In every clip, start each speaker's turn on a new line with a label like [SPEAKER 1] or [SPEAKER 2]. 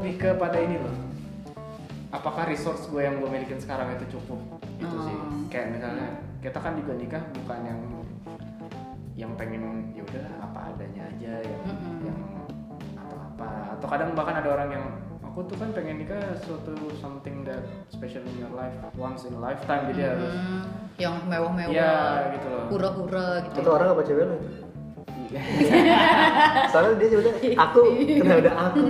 [SPEAKER 1] lebih kepada ini loh apakah resource gue yang gue milikin sekarang itu cukup itu sih
[SPEAKER 2] Oh.
[SPEAKER 1] kayak misalnya kita kan juga nikah bukan yang yang pengen ya udah apa adanya aja yang
[SPEAKER 2] Mm-mm.
[SPEAKER 1] yang atau apa atau kadang bahkan ada orang yang aku tuh kan pengen nikah suatu something that special in your life once in a lifetime jadi harus
[SPEAKER 2] Hmm, yang mewah-mewah
[SPEAKER 1] Iya, gitu loh. Iya.
[SPEAKER 2] hura-hura gitu
[SPEAKER 3] Itu orang apa cewek lu? Soalnya dia sebutnya aku, kenal udah aku.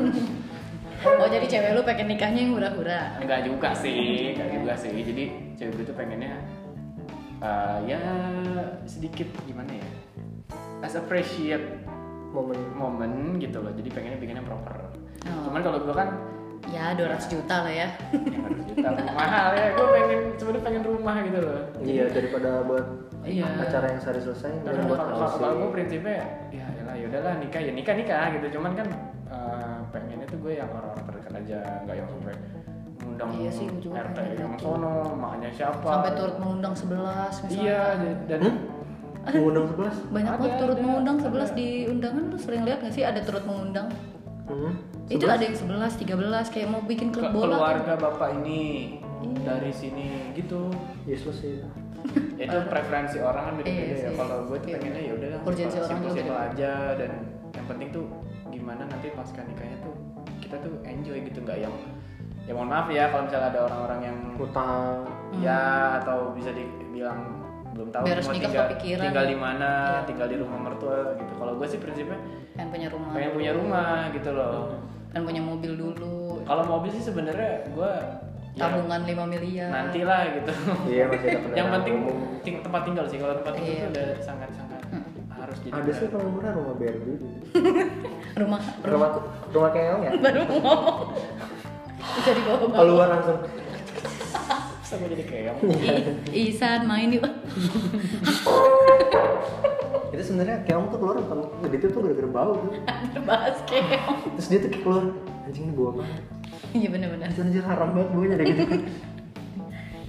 [SPEAKER 2] oh jadi cewek lu pengen nikahnya yang hura-hura
[SPEAKER 1] enggak juga sih enggak juga sih jadi cewek gue tuh pengennya eh, ya sedikit gimana ya as appreciate
[SPEAKER 3] Momen
[SPEAKER 1] momen gitu loh jadi pengennya bikin yang proper
[SPEAKER 2] Oh.
[SPEAKER 1] cuman kalau gue kan
[SPEAKER 2] ya 200 juta lah ya
[SPEAKER 1] yang harus juta mahal ya gue pengen sebenarnya pengen rumah gitu loh
[SPEAKER 3] Iya daripada buat
[SPEAKER 1] Iya.
[SPEAKER 3] acara yang sehari selesai
[SPEAKER 1] Tapi kalau-
[SPEAKER 3] mending buat
[SPEAKER 1] kalau
[SPEAKER 3] kaos
[SPEAKER 1] kalau gue
[SPEAKER 3] sih.
[SPEAKER 1] prinsipnya ya yalah yaudahlah nikah ya nikah nikah gitu cuman kan eh, pengennya tuh gue yang orang-orang terdekat aja nggak yang sampai ngundang
[SPEAKER 2] Iya sih, gua juga
[SPEAKER 1] RT
[SPEAKER 2] pengen
[SPEAKER 1] yang
[SPEAKER 2] gitu.
[SPEAKER 1] sono makanya siapa
[SPEAKER 2] sampai turut mengundang 11 misalnya
[SPEAKER 1] iya j- dan
[SPEAKER 3] Hmm? Mengundang sebelas?
[SPEAKER 2] banyak
[SPEAKER 1] Ada,
[SPEAKER 2] banget turut
[SPEAKER 1] ada,
[SPEAKER 2] mengundang
[SPEAKER 1] ada.
[SPEAKER 2] 11 di undangan lu sering lihat gak sih ada turut mengundang
[SPEAKER 3] Hmm.
[SPEAKER 2] itu ada yang 11, 13 kayak mau bikin
[SPEAKER 1] ke-
[SPEAKER 2] klub bola Iya.
[SPEAKER 1] keluarga bapak ini dari sini gitu
[SPEAKER 3] Useless sih.
[SPEAKER 1] Ya, itu preferensi orang kan beda-beda
[SPEAKER 2] Iya
[SPEAKER 1] ya
[SPEAKER 2] sih.
[SPEAKER 1] kalau gue tuh
[SPEAKER 2] Iya.
[SPEAKER 1] pengennya ya udah
[SPEAKER 2] Urgensi orang juga ya.
[SPEAKER 1] simpel
[SPEAKER 2] beda-beda.
[SPEAKER 1] aja dan yang penting tuh gimana nanti pasca nikahnya tuh kita tuh enjoy gitu nggak yang ya mohon maaf ya kalau misalnya ada orang-orang yang
[SPEAKER 3] Utang.
[SPEAKER 1] ya atau bisa dibilang belum tahu
[SPEAKER 2] Hmm. Beres
[SPEAKER 1] mau
[SPEAKER 2] nikah
[SPEAKER 1] tinggal,
[SPEAKER 2] kepikiran.
[SPEAKER 1] tinggal di mana
[SPEAKER 2] Iya.
[SPEAKER 1] tinggal di rumah mertua gitu kalau gue sih prinsipnya
[SPEAKER 2] pengen punya rumah
[SPEAKER 1] pengen punya rumah gitu loh
[SPEAKER 2] pengen punya mobil dulu
[SPEAKER 1] kalau mobil sih sebenarnya gue ya,
[SPEAKER 2] tabungan 5 miliar
[SPEAKER 1] nantilah gitu
[SPEAKER 3] Iya masih ada
[SPEAKER 1] yang
[SPEAKER 3] kendaraan
[SPEAKER 1] penting
[SPEAKER 3] umum.
[SPEAKER 1] ting- tempat tinggal sih kalau tempat tinggal
[SPEAKER 2] Iya.
[SPEAKER 1] itu udah sangat sangat harus jadi
[SPEAKER 3] ada sih kalau murah rumah BRB.
[SPEAKER 2] rumah
[SPEAKER 3] Rumah rumah keong ya?
[SPEAKER 2] baru mau ngomong bisa dibawa bawa
[SPEAKER 3] Keluar langsung.
[SPEAKER 1] sama jadi keong
[SPEAKER 2] Isan main yuk
[SPEAKER 3] Itu sebenarnya keong tuh keluar bukan gede tuh gara-gara bau tuh.
[SPEAKER 2] bahas keong
[SPEAKER 3] Terus dia tuh keluar anjing ini buah mana?
[SPEAKER 2] iya bener-bener
[SPEAKER 3] Itu anjir haram banget buahnya ada gitu.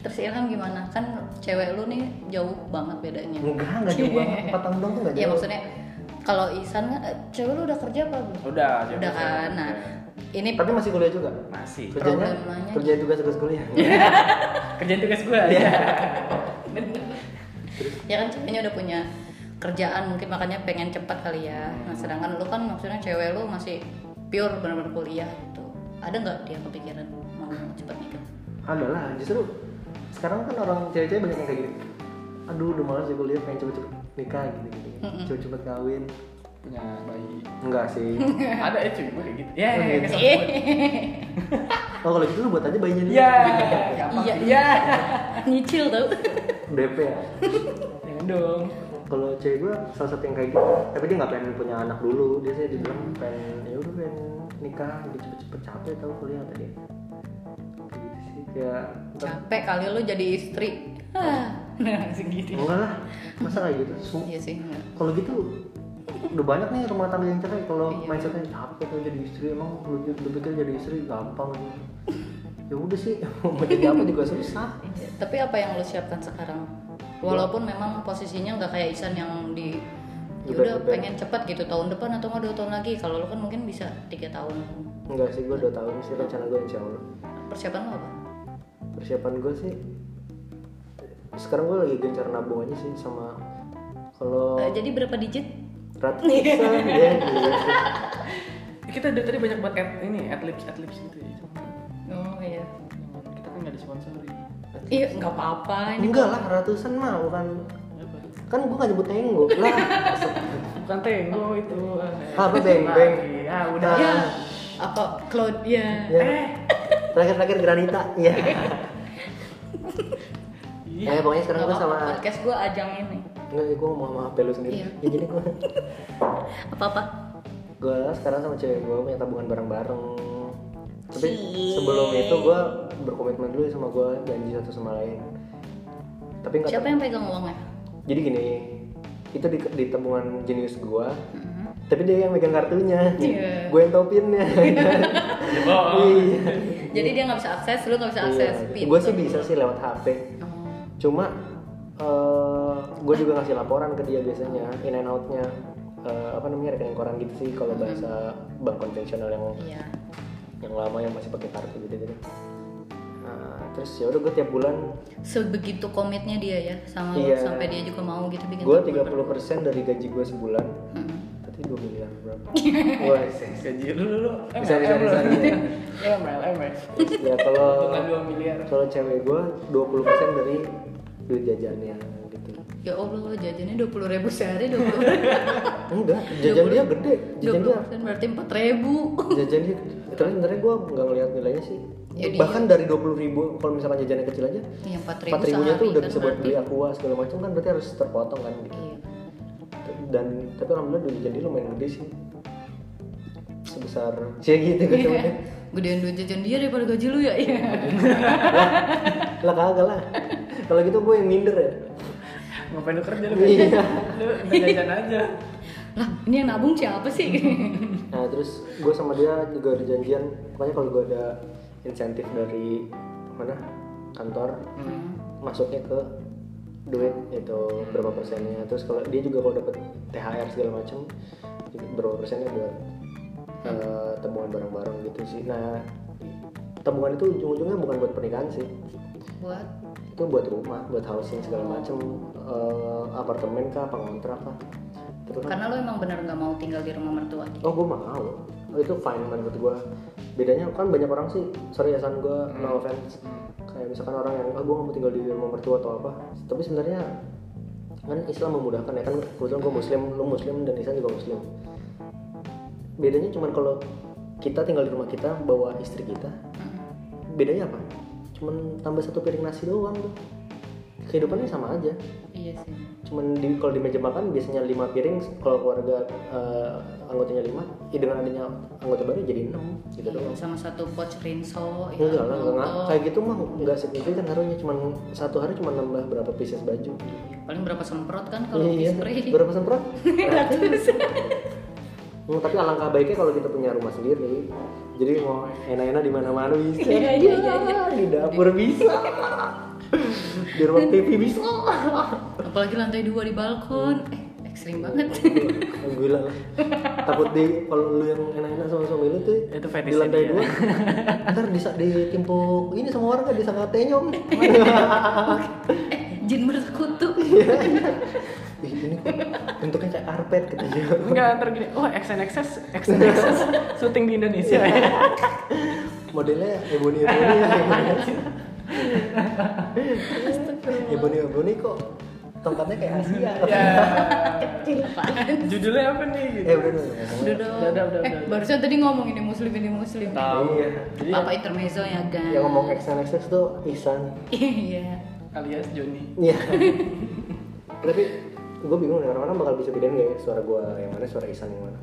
[SPEAKER 2] terus Ilham gimana kan cewek lu nih jauh banget bedanya
[SPEAKER 3] Enggak, enggak jauh banget. Empat tahun dong tuh enggak
[SPEAKER 2] Iya
[SPEAKER 3] jauh.
[SPEAKER 2] maksudnya kalau Isan kan eh, cewek lu udah kerja apa belum?
[SPEAKER 1] udah coba
[SPEAKER 2] Udah
[SPEAKER 1] saya.
[SPEAKER 2] kan. Nah, ini
[SPEAKER 3] Tapi masih kuliah juga.
[SPEAKER 1] masih
[SPEAKER 3] Kerjanya
[SPEAKER 2] Problemanya
[SPEAKER 3] kerjain tugas-tugas kuliah.
[SPEAKER 1] kerjaan tugas gue ya
[SPEAKER 2] ya kan ceweknya udah punya kerjaan mungkin makanya pengen cepat kali ya.
[SPEAKER 3] Hmm.
[SPEAKER 2] Nah, sedangkan lu kan maksudnya cewek lu masih pure benar-benar kuliah gitu. Ada nggak dia kepikiran mau cepat nikah?
[SPEAKER 3] adalah justru sekarang kan orang cewek-cewek banyak yang kayak gitu aduh udah malas ya kuliah pengen cepet-cepet nikah gitu gitu cepet-cepet kawin
[SPEAKER 1] punya bayi
[SPEAKER 3] enggak sih
[SPEAKER 1] ada ya cuy gue kayak gitu ya
[SPEAKER 3] Oh,
[SPEAKER 1] ya,
[SPEAKER 3] gitu.
[SPEAKER 1] ya,
[SPEAKER 3] oh kalau gitu lu buat aja bayinya dulu
[SPEAKER 1] ya
[SPEAKER 2] Iya.
[SPEAKER 1] iya iya
[SPEAKER 2] Nyicil tau?
[SPEAKER 3] DP ya
[SPEAKER 1] jangan Iya, dong
[SPEAKER 3] kalau cewek gue salah satu yang kayak gitu tapi dia nggak pengen punya anak dulu dia sih dibilang pengen ya udah pengen nikah gitu cepet-cepet capek tau kuliah tadi kayak gitu sih kayak
[SPEAKER 2] Capek kali lu jadi istri. Hah. Nah, segini.
[SPEAKER 3] enggak lah masa kayak gitu Su-
[SPEAKER 2] Iya sih. nggak.
[SPEAKER 3] kalau gitu udah banyak nih rumah tangga yang cerai kalau mindsetnya capek tuh jadi istri emang lu, lu pikir jadi istri gampang gitu. ya udah sih mau jadi apa juga susah
[SPEAKER 2] Tapi apa yang lu siapkan sekarang? Walaupun memang posisinya nggak kayak Isan yang di ya udah
[SPEAKER 3] Udah, udah.
[SPEAKER 2] pengen cepat gitu tahun depan atau nggak dua tahun lagi kalau lu kan mungkin bisa tiga tahun
[SPEAKER 3] enggak sih gue 2 tahun sih rencana gue insya Allah
[SPEAKER 2] persiapan lu apa?
[SPEAKER 3] persiapan gue sih sekarang gue lagi gencar nabung aja sih sama kalau
[SPEAKER 2] Eh, jadi berapa digit?
[SPEAKER 3] ratusan ya gitu.
[SPEAKER 1] kita dari tadi banyak banget ad- ini adlibs adlibs gitu ya Cuman
[SPEAKER 2] Oh iya.
[SPEAKER 1] kita kan nggak disponsori
[SPEAKER 2] Iya nggak apa-apa ini.
[SPEAKER 3] enggak lah ratusan mah bukan
[SPEAKER 1] Apa?
[SPEAKER 3] kan gue gak nyebut tenggo lah
[SPEAKER 1] bukan tenggo itu
[SPEAKER 3] Ah, apa beng, beng?
[SPEAKER 1] ah udah Eh,
[SPEAKER 3] Ah.
[SPEAKER 2] Ya apa Claudia?
[SPEAKER 1] Iya,
[SPEAKER 3] ya. terakhir-terakhir granita ya
[SPEAKER 1] iya.
[SPEAKER 3] Eh, pokoknya sekarang gue sama
[SPEAKER 2] podcast gue ajang ini.
[SPEAKER 3] Enggak, gue ngomong sama HP lu sendiri
[SPEAKER 2] Iya.
[SPEAKER 3] Ya jadi gue
[SPEAKER 2] Apa-apa?
[SPEAKER 3] Gue sekarang sama cewek gue punya tabungan bareng-bareng Tapi
[SPEAKER 2] Cie.
[SPEAKER 3] sebelum itu gue berkomitmen dulu sama gue janji satu sama lain Tapi enggak
[SPEAKER 2] Siapa yang pegang uangnya?
[SPEAKER 3] Jadi gini, itu di, di tabungan jenius gue
[SPEAKER 2] Mm-hmm.
[SPEAKER 3] Tapi dia yang megang kartunya
[SPEAKER 2] Iya.
[SPEAKER 3] Gue yang tau pinnya
[SPEAKER 1] Ya, bohong.
[SPEAKER 3] Iya.
[SPEAKER 2] Jadi dia nggak bisa akses, lu nggak bisa akses.
[SPEAKER 3] Gue sih bisa sih lewat HP
[SPEAKER 2] Oh.
[SPEAKER 3] Cuma eh, gue juga ngasih laporan ke dia biasanya in and outnya Eh, apa namanya rekening koran gitu sih kalau bahasa bank konvensional yang
[SPEAKER 2] Iya.
[SPEAKER 3] yang lama yang masih pakai kartu gitu gitu nah, terus ya udah gue tiap bulan
[SPEAKER 2] Sebegitu komitnya dia ya sama lu,
[SPEAKER 3] Iya.
[SPEAKER 2] sampai dia juga mau gitu bikin
[SPEAKER 3] gue
[SPEAKER 2] tabungan.
[SPEAKER 3] 30% dari gaji gue sebulan
[SPEAKER 2] Mm.
[SPEAKER 3] berarti 2 miliar berapa wah sih
[SPEAKER 1] Gaji lu lu lu.
[SPEAKER 3] Bisa, bisa, bisa, bisa.
[SPEAKER 1] Ya ML ML.
[SPEAKER 3] ya kalau
[SPEAKER 1] Dengan 2 miliar.
[SPEAKER 3] kalau cewek gue 20% dari duit jajannya gitu
[SPEAKER 2] Ya Allah, jajannya 20.000 ribu sehari 20
[SPEAKER 3] enggak jajan dia gede jajan dia
[SPEAKER 2] 20% kan berarti 4 ribu
[SPEAKER 3] jajan dia gede. tapi sebenarnya gue nggak ngelihat nilainya sih
[SPEAKER 2] Ya, dia-
[SPEAKER 3] bahkan dari 20.000 ribu kalau misalkan jajannya kecil aja
[SPEAKER 2] Iya, 4 ribu kan
[SPEAKER 3] empat ribunya tuh udah bisa buat
[SPEAKER 2] berarti.
[SPEAKER 3] beli aqua segala macam kan berarti harus terpotong kan gitu.
[SPEAKER 2] Iya.
[SPEAKER 3] dan tapi alhamdulillah duit jadi lumayan gede sih sebesar sih gitu gitu
[SPEAKER 2] Iya. Gedean duit jajan dia daripada gaji lu ya? Iya.
[SPEAKER 3] lah kagak lah kalau gitu gue yang minder ya
[SPEAKER 1] Ngapain lu kerja lu?
[SPEAKER 3] Iya.
[SPEAKER 1] Lu minta jajan aja.
[SPEAKER 2] lah, ini yang nabung siapa sih?
[SPEAKER 3] nah terus gue sama dia juga ada janjian pokoknya kalau gue ada insentif dari mana kantor
[SPEAKER 1] Hmm.
[SPEAKER 3] Hmm. masuknya ke duit itu berapa persennya terus kalau dia juga kalau dapat THR segala macam juga berapa persennya buat eh, temuan bareng-bareng gitu sih nah temuan itu ujung-ujungnya bukan buat pernikahan sih
[SPEAKER 2] buat
[SPEAKER 3] itu buat rumah buat housing segala macam eh, apartemen kah apa kontrak kah itu kan
[SPEAKER 2] karena lu emang bener nggak mau tinggal di rumah mertua gitu.
[SPEAKER 3] oh gue mau oh, itu fine menurut gue bedanya kan banyak orang sih sorry ya san gue no offense kayak misalkan orang yang ah gue gak mau tinggal di rumah mertua atau apa tapi sebenarnya kan Islam memudahkan ya kan kebetulan gue muslim lu muslim dan Islam juga muslim bedanya cuman kalau kita tinggal di rumah kita bawa istri kita bedanya apa cuman tambah satu piring nasi doang tuh kehidupannya sama aja
[SPEAKER 2] iya sih
[SPEAKER 3] cuman di kalau di meja makan biasanya lima piring kalau keluarga eh, anggotanya lima ya dengan adanya anggota baru jadi enam gitu
[SPEAKER 2] Iya,
[SPEAKER 3] doang
[SPEAKER 2] sama satu pouch rinso ya,
[SPEAKER 3] enggak lah enggak
[SPEAKER 2] nonton.
[SPEAKER 3] kayak gitu mah nggak signifikan harusnya cuman satu hari cuma nambah berapa pieces baju Iya,
[SPEAKER 2] paling berapa semprot kan kalau di spray
[SPEAKER 3] berapa semprot
[SPEAKER 2] ratus
[SPEAKER 3] iya. Hmm, tapi alangkah baiknya kalau kita punya rumah sendiri jadi mau enak-enak di mana-mana bisa
[SPEAKER 2] Iya, iya, iya, iya.
[SPEAKER 3] di dapur bisa di ruang TV bisa
[SPEAKER 2] apalagi lantai dua di balkon eh
[SPEAKER 3] Hmm.
[SPEAKER 2] ekstrim banget
[SPEAKER 3] gila lah takut di kalau lu yang enak-enak sama suami lu tuh
[SPEAKER 1] Itu
[SPEAKER 3] di
[SPEAKER 1] fetishnya
[SPEAKER 3] lantai
[SPEAKER 1] dia.
[SPEAKER 3] dua ntar bisa ditimpuk ini sama warga di sangat tenyong
[SPEAKER 2] eh jin bersekutu
[SPEAKER 3] Iya. Ih, ini kok bentuknya kayak karpet gitu ya
[SPEAKER 1] Enggak, ntar gini, oh XNXS, XNXS, syuting di Indonesia ya.
[SPEAKER 3] Iya. modelnya ebony ebony ya ebony ebony kok tongkatnya kayak Asia
[SPEAKER 1] Iya.
[SPEAKER 2] kecil apaan
[SPEAKER 1] Ya. Judulnya apa nih? Gitu.
[SPEAKER 3] eh udah udah, udah
[SPEAKER 2] udah dong
[SPEAKER 1] Udah, udah, udah,
[SPEAKER 2] eh
[SPEAKER 1] udah.
[SPEAKER 2] barusan tadi ngomongin ini muslim ini muslim
[SPEAKER 1] Tahu.
[SPEAKER 3] Iya.
[SPEAKER 1] Jadi
[SPEAKER 2] Papa intermezzo ya guys
[SPEAKER 3] yang ngomong XNXX tuh Ihsan
[SPEAKER 2] iya
[SPEAKER 1] alias Joni.
[SPEAKER 3] Iya. Tapi gue bingung nih orang-orang bakal bisa bedain gak ya suara gue yang mana, suara Isan yang mana.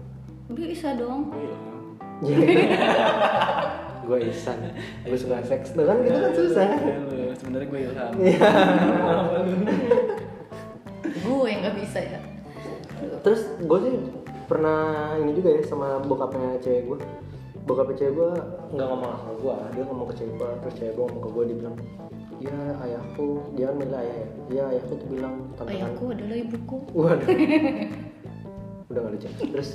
[SPEAKER 2] bisa dong
[SPEAKER 3] gue Isan, gue suka seks. Nah kan itu kan susah. Iya.
[SPEAKER 1] Ya, lu. Sebenarnya gue Ilham.
[SPEAKER 2] gue nggak bisa ya
[SPEAKER 3] Terus gue sih pernah ini juga ya sama bokapnya cewek gue. Bokapnya cewek gue nggak ngomong sama gue, dia ngomong ke cewek gue, terus cewek gue ngomong ke gue dia bilang, ya ayahku, dia kan milih ayah ya, ya ayahku tuh bilang tantangan
[SPEAKER 2] ayahku adalah ibuku
[SPEAKER 3] Waduh. Udah gak lucu. Terus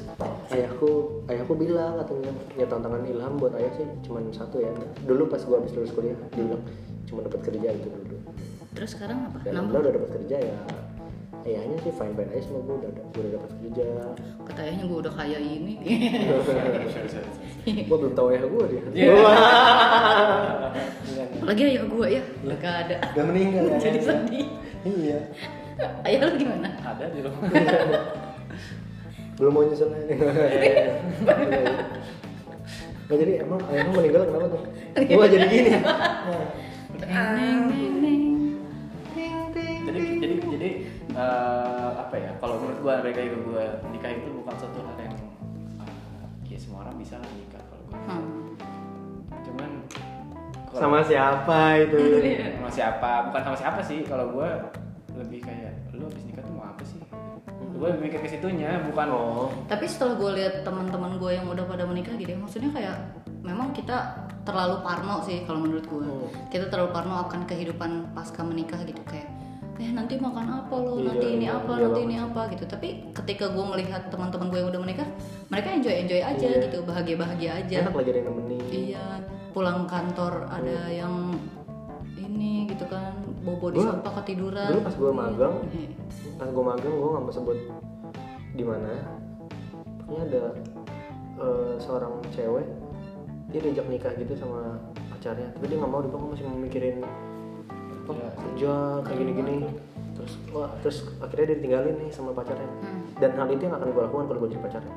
[SPEAKER 3] ayahku, ayahku bilang katanya ya tantangan ilham buat ayah sih cuman satu ya. Dulu pas gua habis lulus kuliah, dia bilang cuma dapat kerja itu dulu.
[SPEAKER 2] terus sekarang apa
[SPEAKER 3] Dan
[SPEAKER 2] nambah
[SPEAKER 3] alhamdulillah udah dapat kerja ya. Ayahnya sih fine fine aja semua gua udah gua udah dapat kerja.
[SPEAKER 2] kata ayahnya gue udah kaya ini
[SPEAKER 3] Iya. gua belum tahu ayah gua dia.
[SPEAKER 1] Iya.
[SPEAKER 3] Wah.
[SPEAKER 2] apalagi ayah gue ya udah gak ada
[SPEAKER 3] Udah meninggal. ya.
[SPEAKER 2] jadi sedih
[SPEAKER 3] Iya.
[SPEAKER 2] ayah lu gimana
[SPEAKER 1] Ada di rumah.
[SPEAKER 3] Belum mau nyusul aja. Nah, jadi emang ayah lu meninggal kenapa tuh?
[SPEAKER 2] Iya.
[SPEAKER 3] Gua jadi gini ya.
[SPEAKER 2] Neng, neng, neng.
[SPEAKER 1] jadi jadi jadi eh, apa ya kalau menurut gue mereka itu gue nikah itu bukan satu hal yang eh, ya semua orang bisa lah nikah kalau gue
[SPEAKER 2] Hmm.
[SPEAKER 1] cuman kalau-
[SPEAKER 3] Sama siapa itu?
[SPEAKER 2] Iya.
[SPEAKER 1] sama siapa bukan sama siapa sih kalau gue lebih kayak lu habis nikah tuh mau apa sih gue lebih mikir ke situnya bukan oh
[SPEAKER 2] tapi setelah gue lihat teman-teman gue yang udah pada menikah gitu ya maksudnya kayak memang kita terlalu parno sih kalau menurut gue
[SPEAKER 3] Hmm.
[SPEAKER 2] kita terlalu parno akan kehidupan pasca menikah gitu kayak eh nanti makan apa lo
[SPEAKER 3] Iya,
[SPEAKER 2] nanti ini
[SPEAKER 3] iya,
[SPEAKER 2] apa nanti
[SPEAKER 3] iya banget
[SPEAKER 2] ini apa gitu tapi ketika gue melihat teman-teman gue yang udah menikah mereka enjoy enjoy aja
[SPEAKER 3] Iya.
[SPEAKER 2] gitu bahagia bahagia aja
[SPEAKER 3] enak lagi ada yang nemenin
[SPEAKER 2] iya pulang kantor ada yang ini gitu kan bobo di
[SPEAKER 3] Iya. Gua-
[SPEAKER 2] sofa ketiduran
[SPEAKER 3] dulu pas gue magang
[SPEAKER 2] Iya.
[SPEAKER 3] pas gue magang gue nggak mau sebut di mana pokoknya ada eh, seorang cewek dia diajak nikah gitu sama pacarnya tapi dia nggak mau dia bilang, "Gua masih mau mikirin apa kerja kayak gini gini terus wah terus akhirnya dia ditinggalin nih sama pacarnya
[SPEAKER 2] Hmm.
[SPEAKER 3] dan hal itu yang akan gue lakukan kalau gue jadi pacarnya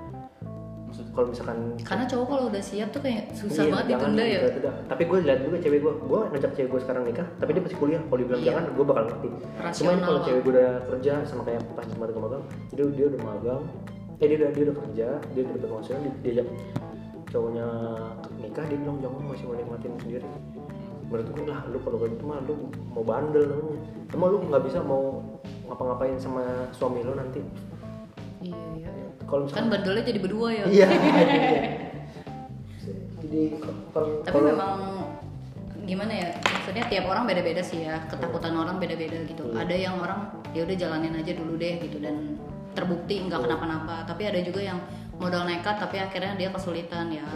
[SPEAKER 1] Maksud-
[SPEAKER 3] kalau misalkan
[SPEAKER 2] karena cowok kalau udah siap tuh kayak susah
[SPEAKER 3] Iya,
[SPEAKER 2] banget
[SPEAKER 3] jangan,
[SPEAKER 2] ditunda ya
[SPEAKER 3] tidak, tidak. tapi gue lihat juga cewek gue gue ngajak cewek gue sekarang nikah tapi dia masih kuliah kalau dibilang jangan gue bakal ngerti
[SPEAKER 2] Iya. Rasional
[SPEAKER 3] cuman kalau
[SPEAKER 2] lah.
[SPEAKER 3] cewek gue udah kerja sama kayak pas kemarin gue magang dia dia udah magang eh dia udah dia udah kerja dia udah dapat penghasilan dia- diajak cowoknya nikah dia bilang jangan masih mau nikmatin sendiri menurut gue lah lu kalau kayak gitu mah lu mau bandel namanya emang lu nggak bisa mau ngapa-ngapain sama suami lu nanti
[SPEAKER 2] iya iya
[SPEAKER 3] kalau
[SPEAKER 2] kan
[SPEAKER 3] misalkan
[SPEAKER 2] bandelnya jadi berdua ya
[SPEAKER 3] iya jadi kalau
[SPEAKER 2] tapi
[SPEAKER 3] kalau-
[SPEAKER 2] memang gimana ya maksudnya tiap orang beda-beda sih ya ketakutan orang beda-beda gitu
[SPEAKER 3] Iya.
[SPEAKER 2] ada yang orang ya udah jalanin aja dulu deh gitu dan terbukti
[SPEAKER 3] Iya.
[SPEAKER 2] nggak kenapa-napa tapi ada juga yang modal nekat tapi akhirnya dia kesulitan
[SPEAKER 3] Iya.
[SPEAKER 2] ya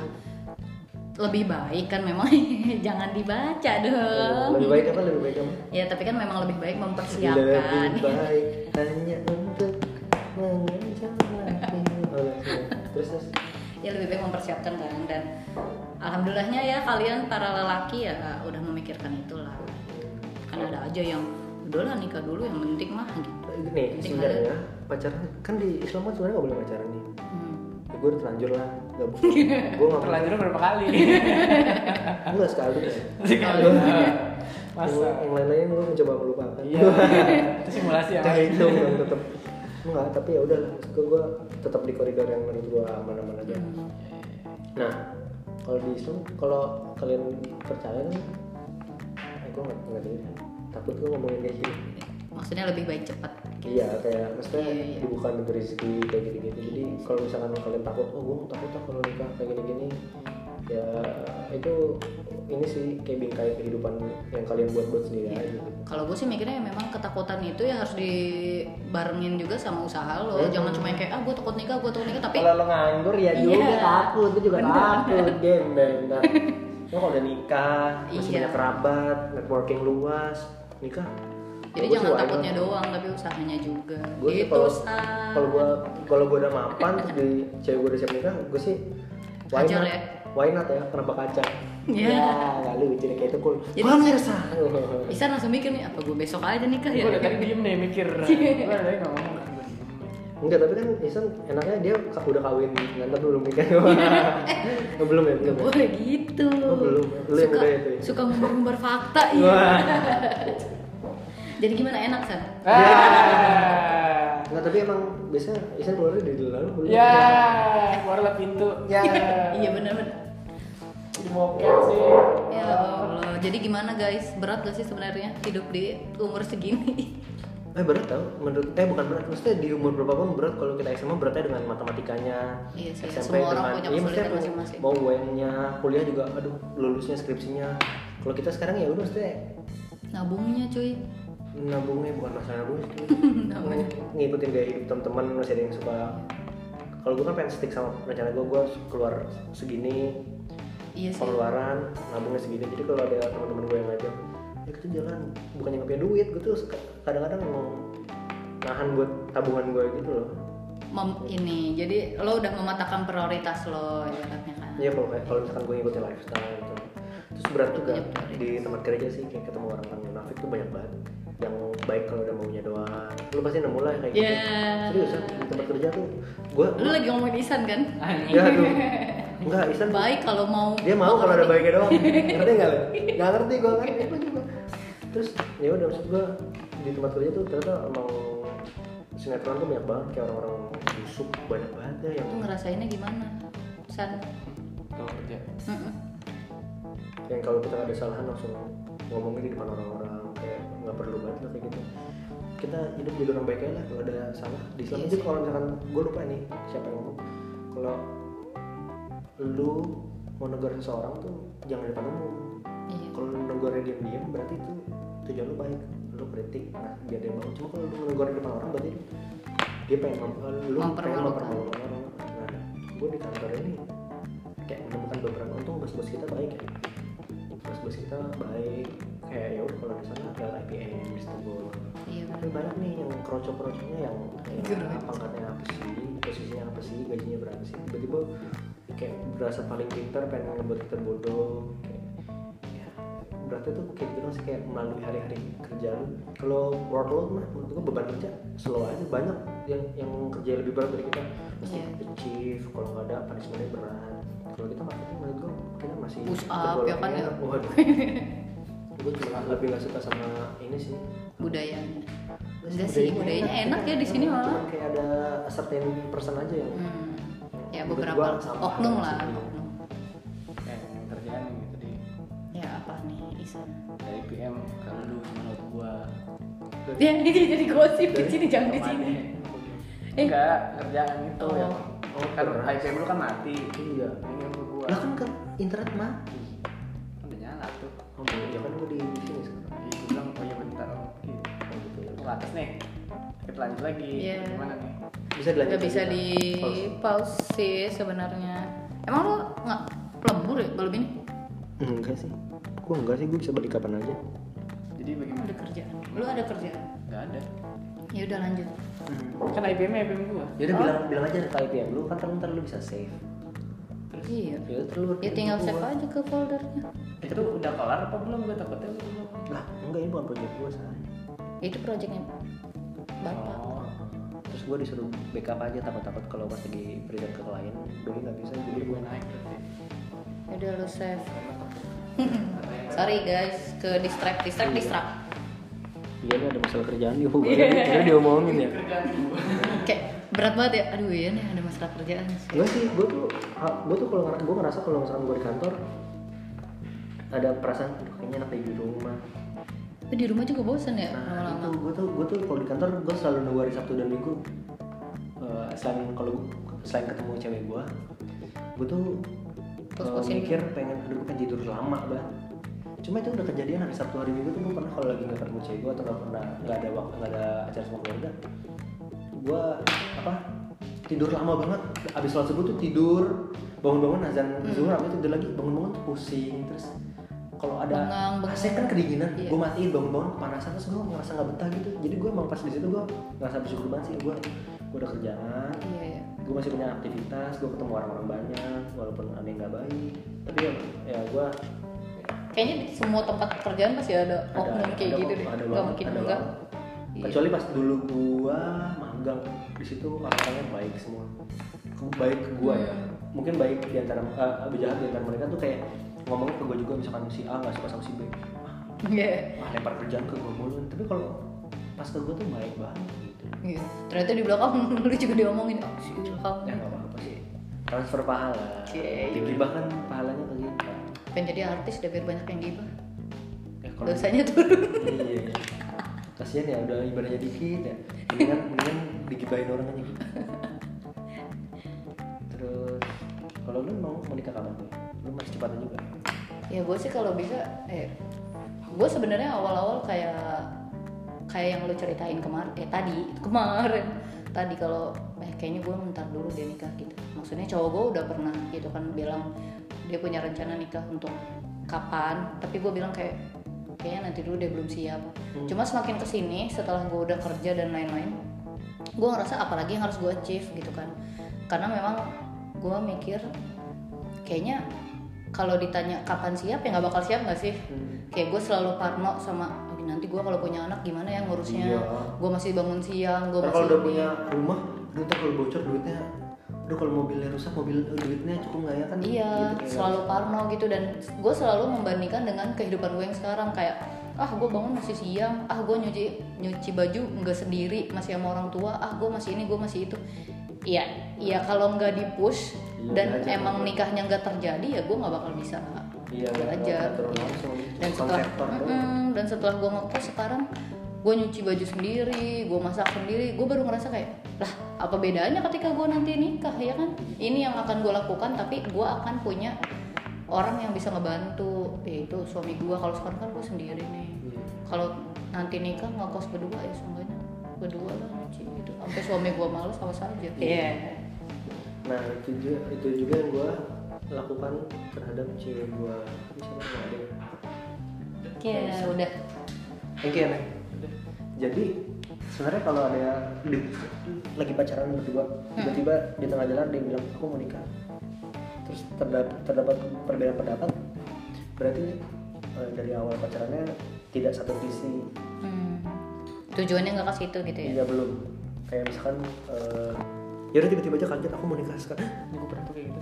[SPEAKER 2] lebih baik kan memang jangan dibaca dong
[SPEAKER 3] Iya, lebih baik kan- apa lebih baik apa
[SPEAKER 2] ya tapi kan memang lebih baik mempersiapkan
[SPEAKER 3] lebih baik hanya untuk mengejar terus terus
[SPEAKER 2] ya lebih baik mempersiapkan kan dan alhamdulillahnya ya kalian para lelaki ya udah memikirkan itulah kan ada aja yang udahlah nikah dulu yang penting mah gitu
[SPEAKER 3] nih sebenarnya pacaran kan di Islam kan sebenarnya nggak boleh pacaran nih
[SPEAKER 2] Hmm.
[SPEAKER 3] ya, gue udah terlanjur lah nggak boleh gue nggak pernah
[SPEAKER 1] Terlanjur berapa kali?
[SPEAKER 3] nggak sekali ya
[SPEAKER 1] Sekali. "Ah, Masa?
[SPEAKER 3] yang lain lain gue mencoba melupakan
[SPEAKER 1] Iya. Itu simulasi ya. apa?
[SPEAKER 3] Nah, itu dong tetap enggak tapi ya udah gue gue tetap di koridor yang menurut gue aman-aman
[SPEAKER 2] Hmm.
[SPEAKER 3] aja nah kalau di Islam kalau kalian percaya kan eh, gue nggak nggak deh takut gue ngomongin kayak gini
[SPEAKER 2] maksudnya lebih baik cepat
[SPEAKER 3] iya kayak maksudnya
[SPEAKER 2] Iya, iya.
[SPEAKER 3] dibuka pintu rezeki kayak gini-gini jadi kalau misalkan kalian takut oh gue takut lah kalau nikah kayak gini-gini ya itu ini sih kayak bingkai kehidupan yang kalian buat-buat sendiri
[SPEAKER 2] Iya.
[SPEAKER 3] aja gitu.
[SPEAKER 2] kalau gue sih mikirnya ya memang ketakutan itu ya harus dibarengin juga sama usaha lo
[SPEAKER 3] Hmm.
[SPEAKER 2] jangan cuma yang kayak ah gue takut nikah gue takut nikah tapi
[SPEAKER 3] kalau lo nganggur ya
[SPEAKER 2] Iya.
[SPEAKER 3] juga takut gue juga
[SPEAKER 2] Bener.
[SPEAKER 3] takut gembel dah lo kalau udah nikah masih
[SPEAKER 2] Iya.
[SPEAKER 3] punya kerabat networking luas nikah
[SPEAKER 2] jadi
[SPEAKER 3] Gua
[SPEAKER 2] jangan
[SPEAKER 3] sih why
[SPEAKER 2] takutnya
[SPEAKER 3] not.
[SPEAKER 2] doang tapi usahanya juga
[SPEAKER 3] gue sih
[SPEAKER 2] gitu
[SPEAKER 3] kalau
[SPEAKER 2] Stan.
[SPEAKER 3] kalau gue kalau gue udah mapan terus di cewek gue udah siap nikah gue sih why
[SPEAKER 2] Hajar
[SPEAKER 3] not
[SPEAKER 2] ya.
[SPEAKER 3] why not ya kenapa kaca Ya,
[SPEAKER 2] Iya.
[SPEAKER 3] nggak lucu deh kayak itu cool
[SPEAKER 2] Jadi-
[SPEAKER 3] pemirsa
[SPEAKER 2] Isan langsung mikir nih apa gue besok aja nikah ya
[SPEAKER 1] Gue udah tadi diem nih mikir. Gue udah tadi ngomong.
[SPEAKER 3] enggak tapi kan Isan enaknya dia ka- udah kawin ngantar belum nikah
[SPEAKER 2] Iya.
[SPEAKER 3] Oh, belum ya
[SPEAKER 2] Gak
[SPEAKER 3] belum ya?
[SPEAKER 2] boleh gitu.
[SPEAKER 3] Oh, belum. Lu yang
[SPEAKER 2] suka,
[SPEAKER 3] udah itu ya?
[SPEAKER 2] suka ngumbar-ngumbar fakta ya.
[SPEAKER 3] Wah.
[SPEAKER 2] Jadi gimana enak San?
[SPEAKER 1] Ah.
[SPEAKER 3] Enggak, tapi emang biasanya Isan keluarnya dari lalu belum?
[SPEAKER 1] Ya, keluarlah pintu. Ya.
[SPEAKER 2] iya benar-benar.
[SPEAKER 1] Dimoket sih.
[SPEAKER 2] Ya Allah. Jadi gimana guys? Berat gak sih sebenarnya hidup di umur segini?
[SPEAKER 3] Eh berat tau, menurut eh bukan berat, maksudnya di umur berapa pun berat kalau kita SMA beratnya dengan matematikanya
[SPEAKER 2] Iya sih, semua orang punya
[SPEAKER 3] iya, maksudnya
[SPEAKER 2] kesulitan
[SPEAKER 3] mau-
[SPEAKER 2] masing-masing.
[SPEAKER 3] Mau UN-nya, kuliah juga, aduh lulusnya, skripsinya Kalau kita sekarang ya udah maksudnya
[SPEAKER 2] Nabungnya cuy.
[SPEAKER 3] nabungnya bukan masalah nabung sih.
[SPEAKER 2] Nabungnya.
[SPEAKER 3] Ngikutin gaya hidup teman-teman, masih ada yang suka Kalau gue kan pengen stick sama rencana gue, gue keluar segini,
[SPEAKER 2] Iya sih.
[SPEAKER 3] pengeluaran nabungnya segini jadi kalau ada teman-teman gue yang ngajak ya kita jalan bukannya nggak punya duit gue tuh suka- kadang-kadang emang nahan buat tabungan gue gitu loh
[SPEAKER 2] Mem- ini. Jadi lo udah mematakan prioritas lo ibaratnya kan.
[SPEAKER 3] ya kalau kayak- kalau misalkan gue ngikutin lifestyle gitu terus berat juga di tempat kerja sih kayak ketemu orang-orang munafik tuh banyak banget yang baik kalau udah maunya doang lu pasti nemu lah yang kayak
[SPEAKER 2] Ya.
[SPEAKER 3] gitu serius ya di tempat kerja tuh gue
[SPEAKER 2] Lo lagi ngomongin Isan kan?
[SPEAKER 3] ya aduh enggak Isan
[SPEAKER 2] Baik kalau mau
[SPEAKER 3] dia mau kalau ada baiknya doang ngerti nggak lo nggak ngerti gue ngerti gue juga terus ya udah maksud gue di tempat kerja tuh ternyata emang sinetron tuh banyak banget kayak orang-orang busuk banyak banget ya yang
[SPEAKER 2] Lo ngerasainnya gimana? San.
[SPEAKER 1] Kalau kerja.
[SPEAKER 2] Mm-mm.
[SPEAKER 3] yang kalau kita ada kesalahan langsung ngomongin di depan orang-orang kayak nggak perlu banget lah kayak gitu kita hidup jadi orang baik aja lah kalau ada salah di Islam
[SPEAKER 2] Iya
[SPEAKER 3] itu kalau misalkan gue lupa nih siapa yang ngomong kalau lu mau negur seseorang tuh jangan di depan umum
[SPEAKER 2] Iya.
[SPEAKER 3] kalau lu negornya diem-diem berarti itu tujuan lu baik lu kritik nah biar dia mau cuma kalau lu menegur di depan orang berarti dia pengen mem lu pengen
[SPEAKER 2] Mempermalukan.
[SPEAKER 3] mempermalukan orang nah gue di kantor ini kayak menemukan beberapa untung bos-bos kita baik ya bos-bos kita baik kayak ya udah kalau di sana ada IPM Istanbul
[SPEAKER 2] iya
[SPEAKER 3] tapi banyak nih yang kroco-kroconya yang yang
[SPEAKER 2] Gitu.
[SPEAKER 3] pangkatnya apa sih posisinya apa sih gajinya berapa sih tiba-tiba kayak berasa paling pintar pengen ngebuat kita bodoh kayak ya berarti tuh kayak gitu sih kayak melalui hari-hari kerja lu kalau workload mah menurut gua beban kerja slow aja banyak yang yang kerja lebih berat dari kita mesti
[SPEAKER 2] Iya.
[SPEAKER 3] achieve kalau nggak ada punishmentnya berat kalau kita marketing menurut gua kita masih
[SPEAKER 2] Push up, ya kan, ya?
[SPEAKER 3] tergolongnya- waduh gue cuma lebih gak suka sama ini sih
[SPEAKER 2] budayanya enggak sih budayanya enak ya di sini
[SPEAKER 3] Cuman
[SPEAKER 2] malah
[SPEAKER 3] kayak ada certain person aja yang
[SPEAKER 2] hmm. ya
[SPEAKER 3] Menurut gua
[SPEAKER 2] beberapa
[SPEAKER 3] sama.
[SPEAKER 2] oknum lah oknum
[SPEAKER 1] kayak yang Eh, kerjaan yang gitu di
[SPEAKER 2] ya apa nih Isan
[SPEAKER 1] dari PM ke lu menurut gua
[SPEAKER 2] ya ini jadi jadi gosip di
[SPEAKER 3] Dari-
[SPEAKER 2] sini jangan di
[SPEAKER 1] Kemana?
[SPEAKER 2] sini Eh.
[SPEAKER 1] enggak kerjaan itu
[SPEAKER 2] Oh.
[SPEAKER 1] yang
[SPEAKER 3] Oh,
[SPEAKER 1] kan
[SPEAKER 3] keras.
[SPEAKER 1] IPM lu kan mati
[SPEAKER 3] iya
[SPEAKER 1] ini yang gua
[SPEAKER 3] lah kan ke internet mati
[SPEAKER 1] kan udah nyala tuh
[SPEAKER 3] oh iya kan gue di sini sekarang
[SPEAKER 1] jadi gua bilang oh iya bentar gitu
[SPEAKER 3] oh, gitu ya.
[SPEAKER 1] Gua ke atas nih kita lanjut lagi
[SPEAKER 2] Iya.
[SPEAKER 1] gimana nih
[SPEAKER 3] bisa dilanjut
[SPEAKER 2] nggak bisa di pause sih sebenarnya emang lu nggak pelembur ya belum ini
[SPEAKER 3] enggak sih gue enggak sih gue bisa balik kapan aja
[SPEAKER 1] jadi bagaimana
[SPEAKER 2] ada kerjaan lu ada kerjaan
[SPEAKER 1] nggak ada
[SPEAKER 2] ya udah lanjut
[SPEAKER 1] kan IPM -nya IPM gua Oh.
[SPEAKER 3] Yaudah Ya bilang
[SPEAKER 2] Oh.
[SPEAKER 3] bilang aja ke IPM lu kan ntar lu bisa save.
[SPEAKER 2] iya
[SPEAKER 3] Ya udah, lu
[SPEAKER 2] ya tinggal save aja ke foldernya
[SPEAKER 1] itu udah kelar apa belum gua takutnya belum
[SPEAKER 3] Lah, enggak ini bukan project gue say.
[SPEAKER 2] Ya, itu proyeknya bapak
[SPEAKER 1] oh
[SPEAKER 3] Terus gue disuruh backup aja takut-takut kalau pas lagi present ke klien, doi nggak bisa jadi
[SPEAKER 1] jadi
[SPEAKER 3] gue
[SPEAKER 1] gua naik berarti
[SPEAKER 2] Ya udah lu save sorry guys ke distract distract distract
[SPEAKER 3] Iya nih ada masalah kerjaan nih, gue
[SPEAKER 2] Iya.
[SPEAKER 3] kira diomongin ya.
[SPEAKER 1] kerjaan gua
[SPEAKER 2] kayak berat banget ya aduh ya nih ada masalah kerjaan sih
[SPEAKER 3] Enggak sih, gue tuh gue tuh kalau ngera- gue ngerasa kalau misalkan gue di kantor ada perasaan "Aduh, kayaknya enak deh di rumah.
[SPEAKER 2] tapi di rumah juga bosan ya
[SPEAKER 3] Nah, itu
[SPEAKER 2] lama-lama
[SPEAKER 3] gue tuh gue tuh kalau di kantor gue selalu nunggu hari Sabtu dan Minggu. Eh, selain kalau gua- selain ketemu cewek gue, gue tuh eh,
[SPEAKER 2] Pos-posin.
[SPEAKER 3] mikir pengen aduh gue pengen tidur lama banget. Cuma itu udah kejadian hari Sabtu hari Minggu tuh gue pernah kalau lagi nggak ketemu cewek gue atau nggak pernah nggak ada waktu nggak ada acara sama keluarga, gue apa tidur lama banget. Abis sholat subuh tuh tidur bangun-bangun azan
[SPEAKER 2] Hmm.
[SPEAKER 3] zuhur abis itu tidur lagi bangun-bangun tuh pusing terus kalau ada
[SPEAKER 2] Bengang, bengang.
[SPEAKER 3] AC kan kedinginan
[SPEAKER 2] Iya.
[SPEAKER 3] gue matiin bangun-bangun kepanasan terus gue ngerasa nggak betah gitu jadi gue emang pas di situ gue ngerasa bersyukur banget sih gue gue udah kerjaan
[SPEAKER 2] iya ya
[SPEAKER 3] gue masih punya aktivitas gue ketemu orang-orang banyak walaupun ada yang nggak baik tapi ya, ya gue
[SPEAKER 2] kayaknya di semua tempat kerjaan pasti ada oknum kayak gitu deh
[SPEAKER 3] ada
[SPEAKER 2] nggak
[SPEAKER 3] banget,
[SPEAKER 2] mungkin
[SPEAKER 3] ada
[SPEAKER 2] enggak
[SPEAKER 3] banget.
[SPEAKER 2] Iya.
[SPEAKER 3] kecuali pas dulu gue magang di situ orang-orangnya baik semua Ke- baik ke gue ya mungkin baik di antara eh, jahat di antara mereka tuh kayak ngomongnya ke gue juga misalkan si A nggak suka sama si B Wah,
[SPEAKER 2] Iya.
[SPEAKER 3] wah lempar kerjaan ke gue mulu tapi kalau pas ke gue tuh baik banget gitu
[SPEAKER 2] Iya. ternyata di belakang lu juga diomongin oh, si belakang
[SPEAKER 3] ya nggak apa-apa sih transfer pahala
[SPEAKER 2] Oke.
[SPEAKER 3] dihibahkan pahalanya ke kita
[SPEAKER 2] pengen jadi artis deh biar banyak yang gibah
[SPEAKER 3] ya kalau
[SPEAKER 2] dosanya turun
[SPEAKER 3] iya kasian ya udah ibadahnya dikit ya mendingan mendingan digibahin orang aja gitu terus kalau lu mau menikah kapan tuh lu masih cepatan juga
[SPEAKER 2] ya gue sih kalau bisa eh gue sebenarnya awal-awal kayak kayak yang lu ceritain kemarin eh tadi kemarin tadi kalau eh kayaknya gue ntar dulu dia nikah gitu maksudnya cowok gue udah pernah gitu kan bilang dia punya rencana nikah untuk kapan tapi gue bilang kayak kayaknya nanti dulu dia belum siap cuma semakin kesini setelah gue udah kerja dan lain-lain gue ngerasa apalagi yang harus gue achieve gitu kan karena memang gue mikir kayaknya kalau ditanya kapan siap ya nggak bakal siap nggak sih kayak gue selalu parno sama "Aduh, nanti gue kalau punya anak gimana ya ngurusnya
[SPEAKER 3] Iya.
[SPEAKER 2] gue masih bangun siang gue
[SPEAKER 3] Ntar
[SPEAKER 2] masih
[SPEAKER 3] kalau udah
[SPEAKER 2] ini."
[SPEAKER 3] punya rumah aduh ntar kalau bocor duitnya aduh kalau mobilnya rusak mobil duitnya cukup nggak ya kan
[SPEAKER 2] iya
[SPEAKER 3] kayak
[SPEAKER 2] selalu parno gitu dan gue selalu membandingkan dengan kehidupan gue yang sekarang kayak ah gue bangun masih siang ah gue nyuci nyuci baju nggak sendiri masih sama orang tua ah gue masih ini gue masih itu iya iya kalau nggak di push
[SPEAKER 3] Iya,
[SPEAKER 2] dan
[SPEAKER 3] belajar.
[SPEAKER 2] emang nikahnya nggak terjadi ya gue nggak bakal bisa
[SPEAKER 3] Iya,
[SPEAKER 2] belajar
[SPEAKER 3] nggak turun langsung.
[SPEAKER 2] dan
[SPEAKER 3] Cuma
[SPEAKER 2] setelah
[SPEAKER 3] konseptor doang.
[SPEAKER 2] Mm, dan setelah gue ngekos sekarang gue nyuci baju sendiri gue masak sendiri gue baru ngerasa kayak lah apa bedanya ketika gue nanti nikah ya kan ini yang akan gue lakukan tapi gue akan punya Ya orang yang bisa ngebantu yaitu suami gue kalau sekarang kan gue sendiri nih
[SPEAKER 3] Iya.
[SPEAKER 2] kalau nanti nikah nggak kos berdua ya seenggaknya berdua lah nyuci gitu sampai suami gua males sama saja iya
[SPEAKER 3] nah itu juga itu juga yang gue lakukan terhadap cewek gue misalnya nggak ada ya?
[SPEAKER 2] Iya, udah
[SPEAKER 3] Oke, Nek. Jadi sebenarnya kalau ada di- lagi pacaran berdua, tiba-tiba di tengah jalan dia bilang aku mau nikah. Terus terdapat, terdapat perbedaan pendapat, berarti eh, dari awal pacarannya tidak satu visi.
[SPEAKER 2] Hmm. tujuannya nggak ke situ gitu ya
[SPEAKER 3] Iya belum. Kayak misalkan eh, ya udah tiba-tiba aja kaget aku mau nikah sekarang. Ini gue pernah tuh kayak gitu.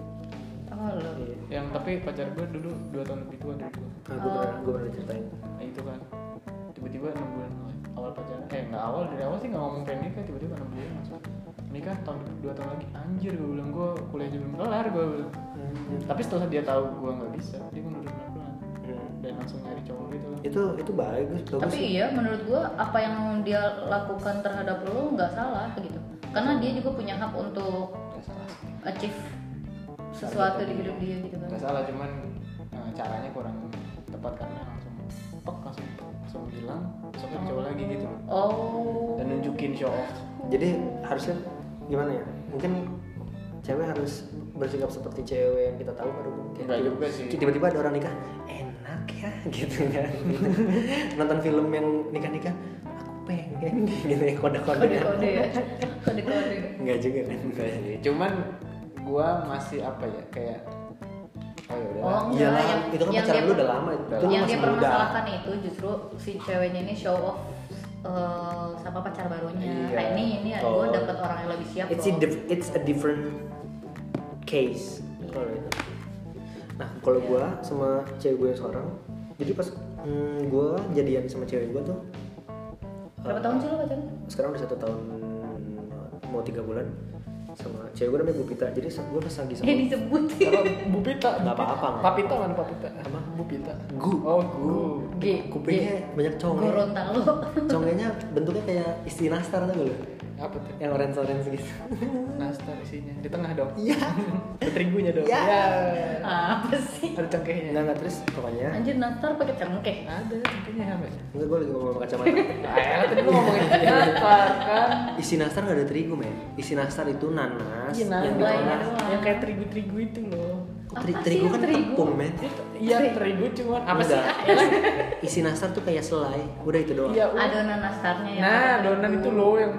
[SPEAKER 2] oh, lo
[SPEAKER 3] Iya.
[SPEAKER 1] yang tapi pacar gue dulu dua tahun lebih tua dari gue
[SPEAKER 3] Nah, gue pernah, gue pernah ceritain.
[SPEAKER 1] nah itu kan tiba-tiba enam bulan awal pacaran eh nggak awal dari awal sih nggak ngomong pengen nikah tiba-tiba enam bulan langsung nikah tahun dua tahun lagi anjir gue bilang gue kuliah aja belum kelar gue bilang tapi setelah dia tahu gue nggak bisa dia mundur pelan-pelan
[SPEAKER 3] Hmm.
[SPEAKER 1] dan langsung nyari cowok gitu lah
[SPEAKER 3] Itu itu bagus, bagus.
[SPEAKER 2] tapi iya menurut gua apa yang dia lakukan terhadap lo nggak salah gitu karena dia juga punya hak untuk
[SPEAKER 1] nggak salah sih
[SPEAKER 2] achieve sesuatu di hidup dia gitu
[SPEAKER 1] nggak
[SPEAKER 2] kan
[SPEAKER 1] salah cuman eh, caranya kurang tepat karena langsung pek langsung pek, langsung hilang besoknya ada cowok lagi gitu
[SPEAKER 2] oh
[SPEAKER 1] dan nunjukin show off
[SPEAKER 3] jadi harusnya gimana ya mungkin cewek harus bersikap seperti cewek yang kita tahu baru mungkin
[SPEAKER 1] Enggak juga sih.
[SPEAKER 3] tiba-tiba ada orang nikah enak ya gitu kan gitu. nonton film yang nikah-nikah aku pengen gitu ya kode-kode
[SPEAKER 2] kode-kode ya Oh, kode-kode
[SPEAKER 3] nggak juga kan
[SPEAKER 1] cuman gua masih apa ya kayak oh ya udah
[SPEAKER 2] Oh,
[SPEAKER 3] Iya
[SPEAKER 2] enggak,
[SPEAKER 3] lah, itu kan pacaran
[SPEAKER 2] dia-
[SPEAKER 3] lu udah lama, itu lu
[SPEAKER 2] yang
[SPEAKER 3] masih
[SPEAKER 2] dia
[SPEAKER 3] muda.
[SPEAKER 2] permasalahkan itu justru si ceweknya ini show off eh, sama pacar barunya.
[SPEAKER 1] Iya.
[SPEAKER 2] Nah, ini ini
[SPEAKER 3] Oh.
[SPEAKER 2] gue dapet orang yang lebih siap.
[SPEAKER 3] it's a,
[SPEAKER 2] loh.
[SPEAKER 3] diff- it's a different case kalau itu. Nah, kalau gua sama cewek gue yang seorang, jadi pas hmm, gua jadian sama cewek gua tuh
[SPEAKER 2] Berapa
[SPEAKER 3] eh,
[SPEAKER 2] tahun sih lo pacaran?
[SPEAKER 3] sekarang udah satu tahun mau tiga bulan sama cewek gue namanya Bupita jadi gue pas lagi sama
[SPEAKER 2] Eh disebut.
[SPEAKER 1] Bu Pita
[SPEAKER 3] Nggak apa-apa, nggak
[SPEAKER 1] Papita kan Papita apa Bu Pita
[SPEAKER 3] Gu.
[SPEAKER 1] oh Gu
[SPEAKER 2] G.
[SPEAKER 3] kupingnya banyak conge
[SPEAKER 2] Gorontalo.
[SPEAKER 3] congenya bentuknya kayak istri nastar tuh lu
[SPEAKER 1] apa tuh
[SPEAKER 3] yang orange orange gitu
[SPEAKER 1] nastar isinya di tengah dong
[SPEAKER 3] iya
[SPEAKER 1] ada terigunya dong
[SPEAKER 3] Iya.
[SPEAKER 1] Ya.
[SPEAKER 2] Apa sih?
[SPEAKER 1] ada cengkehnya
[SPEAKER 3] nggak nggak terus pokoknya
[SPEAKER 2] Anjir nastar pakai cengkeh.
[SPEAKER 1] ada cengkehnya Iya. apa ya
[SPEAKER 3] enggak gue lagi ngomong sama kacamata
[SPEAKER 1] Ayolah tadi lu ngomongin nastar kan
[SPEAKER 3] isi nastar nggak ada terigu men isi nastar itu nanas
[SPEAKER 1] Iya,
[SPEAKER 3] yang
[SPEAKER 1] nanas.
[SPEAKER 2] lainnya
[SPEAKER 3] diolah.
[SPEAKER 2] doang.
[SPEAKER 1] yang kayak terigu-terigu itu loh
[SPEAKER 2] ya. Apa
[SPEAKER 3] Teri-
[SPEAKER 2] sih
[SPEAKER 3] terigu
[SPEAKER 2] yang
[SPEAKER 3] kan
[SPEAKER 2] terigu?
[SPEAKER 3] tepung men
[SPEAKER 1] Iya terigu cuman apa sih?
[SPEAKER 3] Enggak. isi nastar tuh kayak selai udah itu doang
[SPEAKER 1] Iya. udah.
[SPEAKER 2] Adonan nastarnya ya.
[SPEAKER 1] Nah donan itu loh yang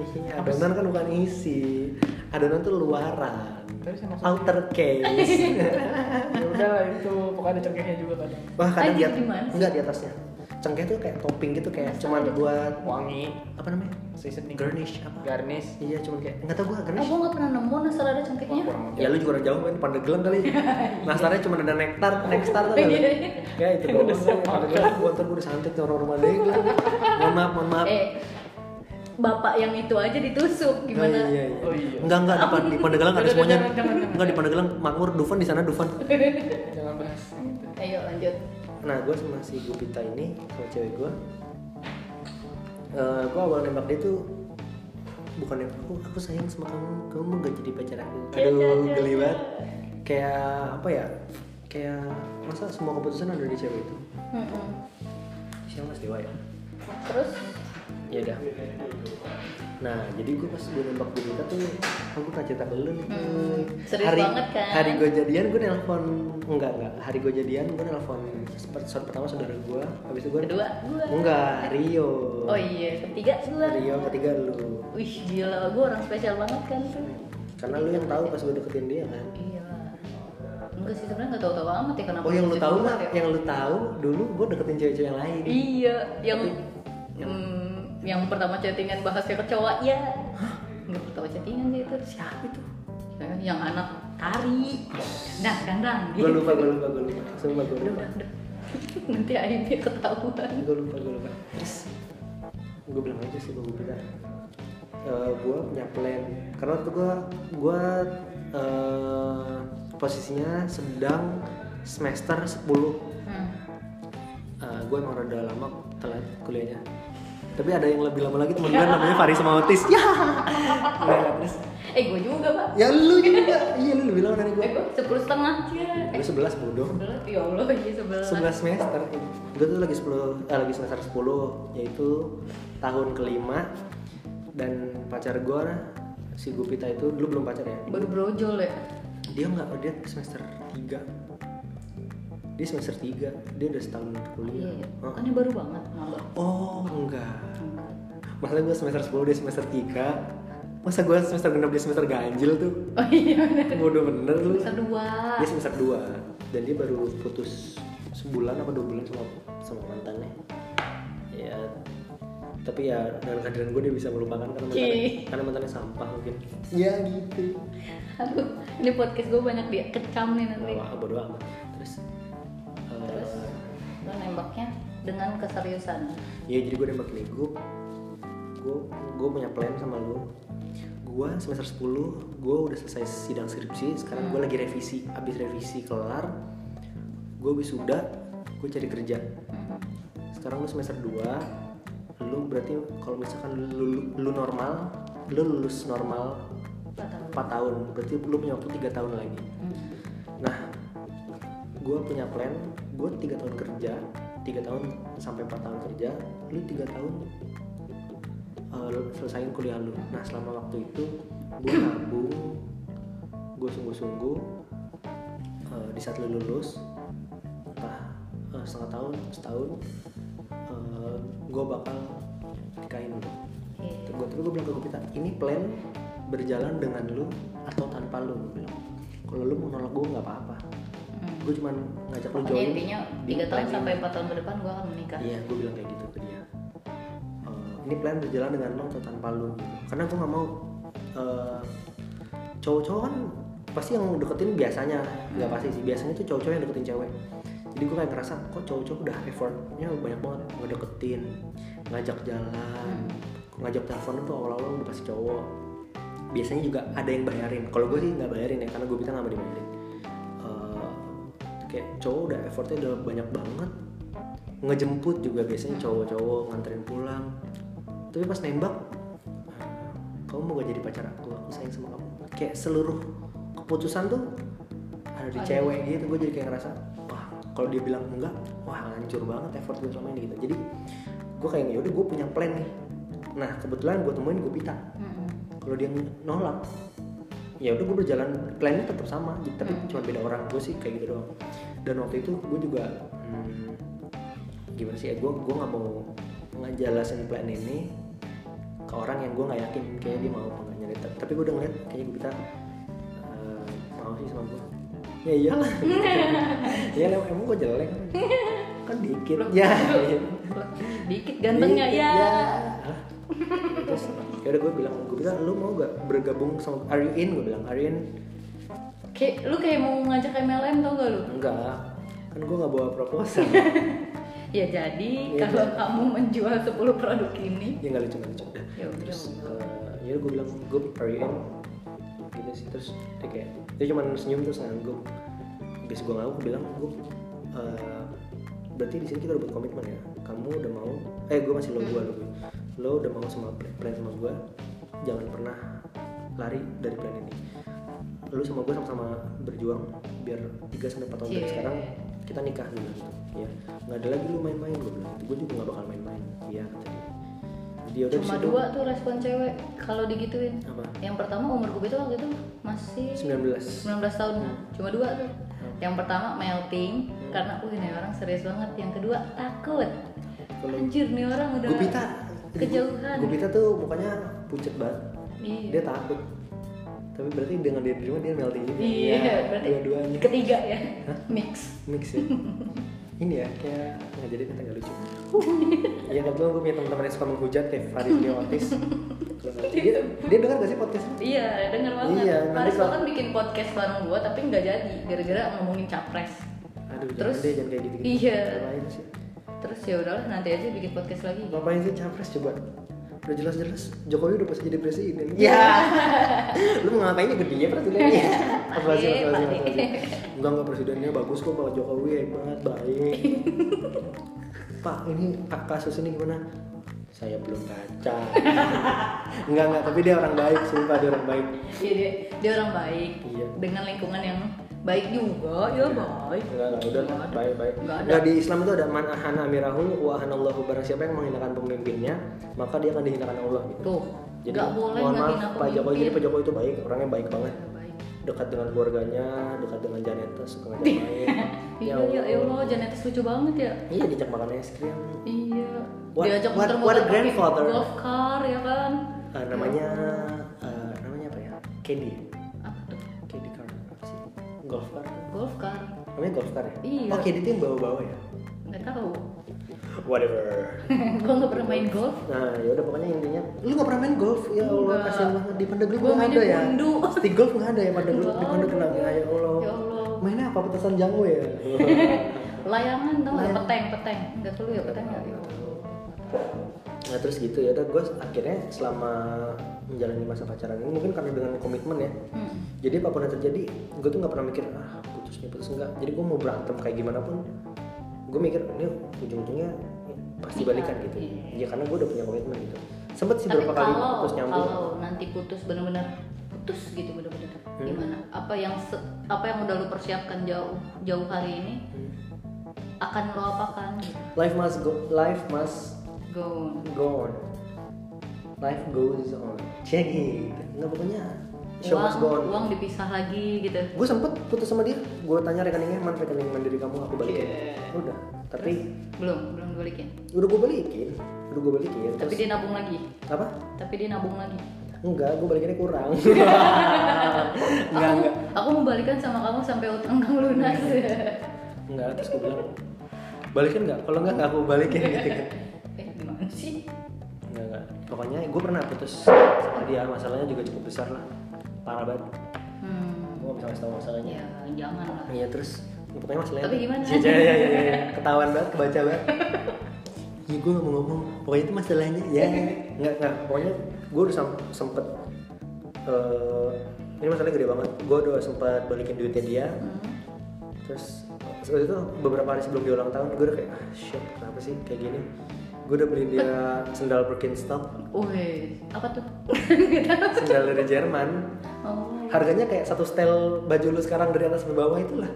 [SPEAKER 3] Iya, adonan kan bukan isi. Adonan tuh luaran.
[SPEAKER 1] Terus yang maksudnya?
[SPEAKER 3] Outer case.
[SPEAKER 1] ya udah lah itu pokoknya ada cengkehnya juga kadang
[SPEAKER 3] Wah, kadang
[SPEAKER 2] Anjing,
[SPEAKER 3] dia
[SPEAKER 2] gimana sih?
[SPEAKER 3] enggak di atasnya. Cengkeh tuh kayak topping gitu kayak cuman buat
[SPEAKER 1] wangi
[SPEAKER 3] apa namanya?
[SPEAKER 1] seasoning
[SPEAKER 3] Garnish apa?
[SPEAKER 1] garnish
[SPEAKER 3] Iya, cuman kayak enggak tahu gua
[SPEAKER 2] Oh,
[SPEAKER 3] garnish.
[SPEAKER 2] gue gak pernah nemu nastar ada cengkehnya.
[SPEAKER 3] Ya lu juga orang jauh kan Pandeglang kali. Nastarnya cuma ada nektar, nektar tuh.
[SPEAKER 2] Iya,
[SPEAKER 3] kan?
[SPEAKER 2] iya.
[SPEAKER 3] Ya itu doang. Pandeglang gua ntar gua disantet sama orang rumah deh. Mohon maaf, mohon maaf.
[SPEAKER 2] Eh, bapak yang itu aja ditusuk gimana?
[SPEAKER 3] Oh, iya, iya.
[SPEAKER 1] Oh, iya.
[SPEAKER 3] Enggak enggak di, Pan- di Pandeglang nggak ada
[SPEAKER 1] Jangan,
[SPEAKER 3] semuanya.
[SPEAKER 1] jangan, jangan, jangan.
[SPEAKER 3] Enggak di Pandeglang makmur Dufan di sana Dufan.
[SPEAKER 1] jangan bahas gitu.
[SPEAKER 2] Ayo lanjut.
[SPEAKER 3] Nah, gue sama si Gupita ini, sama cewek gue, eh gue awal nembak dia tuh bukan nembak aku, aku sayang sama kamu, kamu mau gak jadi pacar aku?
[SPEAKER 2] Iya,
[SPEAKER 3] Aduh, geli banget. Kayak apa ya? Kayak masa semua keputusan ada di cewek itu?
[SPEAKER 2] Mm-mm.
[SPEAKER 3] Siapa Mas Dewa ya?
[SPEAKER 2] Terus
[SPEAKER 3] Iya dah. Nah, jadi gue pas gue nembak Gupita tuh, "Oh, aku pernah cerita ke lu nih.
[SPEAKER 2] Hmm, serius
[SPEAKER 3] hari,
[SPEAKER 2] banget kan?
[SPEAKER 3] Hari gue jadian, gue nelpon enggak enggak. Hari gue jadian, gue nelpon per- saat pertama saudara gue, habis itu gue
[SPEAKER 2] kedua gua.
[SPEAKER 3] Enggak, Rio.
[SPEAKER 2] Oh iya, ketiga gua.
[SPEAKER 3] Rio ketiga lu.
[SPEAKER 2] Wih gila, gua orang spesial banget kan tuh.
[SPEAKER 3] Karena lu yang tahu pas gue deketin dia kan.
[SPEAKER 2] Iya. Enggak sih sebenarnya nggak tahu-tahu amat ya kenapa.
[SPEAKER 3] Oh yang lu
[SPEAKER 2] lucu
[SPEAKER 3] tahu
[SPEAKER 2] banget
[SPEAKER 3] mah,
[SPEAKER 2] ya.
[SPEAKER 3] yang lu tahu dulu gue deketin cewek-cewek yang lain.
[SPEAKER 2] Iya, yang hmm, yang pertama chattingan bahasnya kecoa ya. Enggak pertama chattingan sih itu siapa itu? Yang anak tari, nah kandang.
[SPEAKER 3] Gue lupa, gue lupa, gue lupa. Sumpah gue
[SPEAKER 2] Udah,
[SPEAKER 3] lupa.
[SPEAKER 2] udah, udah. Nanti aibnya ketahuan.
[SPEAKER 3] Gue lupa, gue lupa. Terus gue bilang aja sih gue bilang. gue punya plan karena waktu gue gue eh, posisinya sedang semester 10
[SPEAKER 2] Hmm.
[SPEAKER 3] Eh, gue emang rada lama telat kuliahnya tapi ada yang lebih lama lagi teman gue namanya Faris sama Otis ya Udah, terus
[SPEAKER 2] eh gue juga pak
[SPEAKER 3] ya lu juga iya lu lebih lama dari gue
[SPEAKER 2] eh gue sepuluh setengah Cie. eh
[SPEAKER 3] gue 11 bodoh
[SPEAKER 2] sebelas ya allah iya sebelas
[SPEAKER 3] 11 semester gue tuh lagi 10 eh, lagi semester 10 yaitu tahun kelima dan pacar gue si Gupita itu dulu belum pacar ya
[SPEAKER 2] baru brojol ya
[SPEAKER 3] dia nggak dia semester 3 dia semester 3 dia udah setahun
[SPEAKER 2] iya
[SPEAKER 3] kuliah
[SPEAKER 2] iya.
[SPEAKER 3] Hah?
[SPEAKER 2] kan dia baru banget ngambek
[SPEAKER 3] oh enggak masa gue semester 10 dia semester 3 masa gue semester 6 dia semester ganjil tuh
[SPEAKER 2] oh iya bener
[SPEAKER 3] bodoh bener lu
[SPEAKER 2] semester dua
[SPEAKER 3] dia semester 2 dan dia baru putus sebulan apa dua bulan sama sama mantannya ya tapi ya dengan kehadiran gue dia bisa melupakan karena mantannya,
[SPEAKER 2] Ih.
[SPEAKER 3] karena mantannya sampah mungkin ya gitu
[SPEAKER 2] aduh ini podcast gue banyak dia kecam nih nanti
[SPEAKER 3] wah bodoh amat terus eh,
[SPEAKER 2] terus lo nembaknya dengan keseriusan
[SPEAKER 3] ya jadi gue nembak nih gue gue gue punya plan sama lu gue semester 10 gue udah selesai sidang skripsi sekarang gue lagi revisi abis revisi kelar gue wisuda gue cari kerja sekarang lu semester 2 lu berarti kalau misalkan lu, lu normal lu lulus normal
[SPEAKER 2] Empat tahun.
[SPEAKER 3] 4 tahun berarti lu punya waktu 3 tahun lagi
[SPEAKER 2] Hmm.
[SPEAKER 3] Nah, gue punya plan, gue tiga tahun kerja, tiga tahun sampai empat tahun kerja, lu tiga tahun uh, lu selesaiin kuliah lu. Nah, selama waktu itu gue nabung, gue sungguh-sungguh. uh, di saat lu lulus, entah uh, setengah tahun, setahun, gue bakal nikahin lu.
[SPEAKER 2] Oke.
[SPEAKER 3] Gue terus gue bilang ke Gupita, ini plan berjalan dengan lu atau tanpa lu gue bilang. Kalau lu mau nolak gue nggak apa-apa.
[SPEAKER 2] Hmm.
[SPEAKER 3] Gue cuman ngajak lu
[SPEAKER 2] Pokoknya
[SPEAKER 3] join.
[SPEAKER 2] intinya
[SPEAKER 3] di
[SPEAKER 2] 3 tahun
[SPEAKER 3] plan
[SPEAKER 2] sampai
[SPEAKER 3] ini.
[SPEAKER 2] 4 tahun ke depan gue akan menikah
[SPEAKER 3] Iya, gue bilang kayak gitu ke dia. Eh, ini plan berjalan dengan lu atau tanpa lu. gitu. Karena gue nggak mau eh, cowok-cowok kan pasti yang deketin biasanya nggak pasti sih biasanya tuh cowok-cowok yang deketin cewek jadi gue kayak ngerasa kok cowok-cowok udah effortnya banyak banget ya, ngedeketin ngajak jalan ngajak telepon tuh awal-awal udah pasti cowok biasanya juga ada yang bayarin kalau gue sih nggak bayarin ya karena gue bilang nggak mau dibayarin Eh, kayak cowok udah effortnya udah banyak banget ngejemput juga biasanya cowok-cowok nganterin pulang tapi pas nembak kamu mau gak jadi pacar aku aku sayang sama kamu kayak seluruh keputusan tuh ada di cewek gitu gue jadi kayak ngerasa wah kalau dia bilang enggak wah hancur banget effort gue selama ini gitu jadi gue kayak yaudah gue punya plan nih nah kebetulan gue temuin gue pita
[SPEAKER 2] Mm-mm.
[SPEAKER 3] kalau dia nolak ya udah gue berjalan plannya tetap sama j- tapi cuma beda orang gue sih kayak gitu doang dan waktu itu gue juga hmm, gimana sih ya gue gue nggak mau ngejelasin plan ini ke orang yang gue nggak yakin kayaknya dia mau apa nggak nyari Ta- tapi gue udah ngeliat kayaknya gue kita eh, mau sih sama gue ya iyalah ya emang, emang gue jelek kan dikit ya
[SPEAKER 2] dikit gantengnya ya
[SPEAKER 3] Iya. Hah? Terus ya udah gue bilang, gue bilang lu mau gak bergabung sama Are you in? Gue bilang Are you in?
[SPEAKER 2] kayak lu kayak mau ngajak MLM tau gak lu
[SPEAKER 3] Enggak, kan gue gak bawa proposal.
[SPEAKER 2] ya jadi
[SPEAKER 3] Iya.
[SPEAKER 2] kalau kamu menjual 10 produk ini
[SPEAKER 3] ya nggak lucu nggak lucu. Dah.
[SPEAKER 2] Ya udah.
[SPEAKER 3] Terus eh, ya udah gue bilang gue Are you in? Gitu sih terus dia kayak dia cuma senyum terus kan, ngangguk. Habis gue ngangguk gue bilang gue eh, berarti di sini kita udah buat komitmen ya. Kamu udah mau? Eh gue masih lo gue
[SPEAKER 2] Hmm.
[SPEAKER 3] lo gue. Lo udah mau sama plan- plan sama gue? Jangan pernah lari dari plan ini. Lu sama gue sama-sama berjuang biar 3 sampai 4 tahun dari
[SPEAKER 2] Cie.
[SPEAKER 3] sekarang kita nikah dulu gitu ya nggak ada lagi lu main-main gue bilang gue juga nggak bakal main-main iya kata dia dia udah
[SPEAKER 2] cuma
[SPEAKER 3] disitu-
[SPEAKER 2] dua tuh respon cewek kalau digituin
[SPEAKER 3] apa
[SPEAKER 2] yang pertama umur gue itu waktu itu masih
[SPEAKER 3] 19
[SPEAKER 2] 19 tahun
[SPEAKER 3] Hmm.
[SPEAKER 2] cuma dua tuh yang pertama melting karena wih nih orang serius banget yang kedua takut
[SPEAKER 3] Kalau-
[SPEAKER 2] anjir nih orang udah
[SPEAKER 3] Gupita
[SPEAKER 2] kejauhan
[SPEAKER 3] Gupita tuh mukanya pucet banget
[SPEAKER 2] iya
[SPEAKER 3] dia takut tapi berarti dengan dia di rumah dia melting juga
[SPEAKER 2] iya
[SPEAKER 3] Ya,
[SPEAKER 2] berarti
[SPEAKER 3] dua-duanya
[SPEAKER 2] ketiga ya mix
[SPEAKER 3] mix ya ini ya kayak nggak jadi kita nggak lucu ya kebetulan gue punya teman-teman yang suka menghujat kayak Faris Dio Otis Kalau nggak- dia dia dengar gak sih podcast
[SPEAKER 2] Iya, denger banget.
[SPEAKER 3] Iya, nanti
[SPEAKER 2] Paris
[SPEAKER 3] kalau-
[SPEAKER 2] bahkan bikin podcast bareng gua tapi nggak jadi gara-gara ngomongin capres.
[SPEAKER 3] aduh
[SPEAKER 2] Terus-
[SPEAKER 3] jangan deh jangan kayak gitu gitu
[SPEAKER 2] iya.
[SPEAKER 3] ngapain sih
[SPEAKER 2] Terus ya udahlah nanti aja bikin podcast lagi.
[SPEAKER 3] ngapain sih capres coba udah jelas-jelas Jokowi udah pasti jadi presiden lu mau ngapain ikut dia presidennya apa sih
[SPEAKER 2] Panik,
[SPEAKER 3] apa
[SPEAKER 2] panik.
[SPEAKER 3] enggak enggak presidennya bagus kok Pak Jokowi hebat baik Pak ini Pak kasus ini gimana saya belum baca enggak enggak tapi dia orang baik sumpah dia orang baik
[SPEAKER 2] Iya, dia, dia orang baik
[SPEAKER 3] Iya.
[SPEAKER 2] dengan lingkungan yang baik juga ya baik
[SPEAKER 3] enggak enggak udah lah, baik baik
[SPEAKER 2] Enggak ada.
[SPEAKER 3] enggak di Islam itu ada man ahana amirahu wa ahanallahu barang siapa yang menghinakan pemimpinnya maka dia akan dihinakan Allah gitu
[SPEAKER 2] tuh
[SPEAKER 3] jadi
[SPEAKER 2] nggak boleh
[SPEAKER 3] mohon
[SPEAKER 2] nggak
[SPEAKER 3] maaf
[SPEAKER 2] hina
[SPEAKER 3] Pak Jokowi jadi Pak
[SPEAKER 2] pemimpin.
[SPEAKER 3] Jokowi itu baik orangnya baik banget
[SPEAKER 2] Baik.
[SPEAKER 3] dekat dengan keluarganya dekat dengan Janeta suka ngajak main
[SPEAKER 2] Iya, ya, ya Allah, Janetes lucu banget ya.
[SPEAKER 3] iya diajak makan es krim
[SPEAKER 2] Iya.
[SPEAKER 3] What-
[SPEAKER 2] Diajak
[SPEAKER 3] what- what
[SPEAKER 2] muter-muter
[SPEAKER 3] a
[SPEAKER 2] pakai
[SPEAKER 3] grandfather.
[SPEAKER 2] golf car ya kan.
[SPEAKER 3] Eh, namanya eh, namanya apa ya Candy
[SPEAKER 2] Apa Ah, tuh?
[SPEAKER 3] Candy car apa sih golf car
[SPEAKER 2] Golf car.
[SPEAKER 3] namanya golf car ya
[SPEAKER 2] Iya.
[SPEAKER 3] oh Candy itu yang bawa-bawa ya
[SPEAKER 2] Nggak tahu.
[SPEAKER 3] whatever
[SPEAKER 2] Gua nggak pernah main golf.
[SPEAKER 3] Nah, ya udah pokoknya intinya lu gak pernah main golf ya Allah
[SPEAKER 2] Enggak.
[SPEAKER 3] kasihan banget di Pandeglang
[SPEAKER 2] Gua
[SPEAKER 3] gak
[SPEAKER 2] mainin
[SPEAKER 3] ada ya.
[SPEAKER 2] pundu.
[SPEAKER 3] Stick golf gak ada ya Pandeglang di
[SPEAKER 2] Enggak
[SPEAKER 3] Pandeglang
[SPEAKER 2] ada.
[SPEAKER 3] ya ya Allah.
[SPEAKER 2] Ya Allah.
[SPEAKER 3] Mainnya apa petasan jamu ya?
[SPEAKER 2] Layangan tau nggak?
[SPEAKER 3] Layangan.
[SPEAKER 2] Peteng, peteng. Nggak perlu ya peteng nggak?
[SPEAKER 3] Iya.
[SPEAKER 2] Ya Allah.
[SPEAKER 3] nah terus gitu ya udah gue akhirnya selama menjalani masa pacaran ini mungkin karena dengan komitmen ya
[SPEAKER 2] Hmm.
[SPEAKER 3] jadi apapun yang terjadi gue tuh nggak pernah mikir ah putus nih putus enggak jadi gue mau berantem kayak gimana pun gue mikir ini ujung-ujungnya pasti
[SPEAKER 2] Iya,
[SPEAKER 3] balikan gitu
[SPEAKER 2] iya.
[SPEAKER 3] ya karena gue udah punya komitmen gitu sempet sih
[SPEAKER 2] Tapi
[SPEAKER 3] berapa kali
[SPEAKER 2] kalau
[SPEAKER 3] putus nyambung
[SPEAKER 2] kalau nanti putus bener-bener putus gitu bener-bener
[SPEAKER 3] Hmm.
[SPEAKER 2] gimana? Apa yang se- apa yang udah lu persiapkan jauh jauh hari ini
[SPEAKER 3] Hmm.
[SPEAKER 2] akan lo apakan? gitu?
[SPEAKER 3] life must go life must
[SPEAKER 2] Go. on.
[SPEAKER 3] go on life goes on cek gitu nggak pokoknya show must go on
[SPEAKER 2] Uang, uang dipisah lagi gitu.
[SPEAKER 3] gue sempet putus sama dia gue tanya rekeningnya man rekening mandiri kamu aku balikin udah tapi
[SPEAKER 2] Belum, belum dibalikin.
[SPEAKER 3] udah gue balikin udah gue balikin
[SPEAKER 2] Tapi
[SPEAKER 3] terus
[SPEAKER 2] dia nabung lagi.
[SPEAKER 3] apa
[SPEAKER 2] Tapi dia nabung lagi.
[SPEAKER 3] enggak gue balikinnya kurang enggak
[SPEAKER 2] aku,
[SPEAKER 3] enggak Iya,
[SPEAKER 2] aku mau balikan sama kamu sampai utang kamu lunas.
[SPEAKER 3] enggak terus gue bilang balikin nggak kalau nggak nggak aku balikin gitu kan
[SPEAKER 2] eh gimana sih?
[SPEAKER 3] enggak enggak pokoknya gue pernah putus sama dia masalahnya juga cukup besar lah parah banget
[SPEAKER 2] Hmm,
[SPEAKER 3] gue nggak bisa ngasih tahu masalahnya
[SPEAKER 2] ya jangan lah.
[SPEAKER 3] Iya terus ya, pokoknya masalahnya
[SPEAKER 2] Tapi gimana?
[SPEAKER 3] Iya iya iya iya, iya. ketahuan banget kebaca banget. Iya gue nggak mau ngomong pokoknya itu masalahnya ya nggak nggak pokoknya gue udah sem- sempet eh, ini masalahnya gede banget gue udah sempet balikin duitnya dia
[SPEAKER 2] Hmm.
[SPEAKER 3] terus waktu itu beberapa hari sebelum dia ulang tahun gue udah kayak ah shit kenapa sih kayak gini gue udah beliin dia sendal Birkenstock
[SPEAKER 2] Wih, apa tuh?
[SPEAKER 3] sendal dari Jerman
[SPEAKER 2] Oh,
[SPEAKER 3] harganya kayak satu setel baju lu sekarang dari atas sampai bawah itulah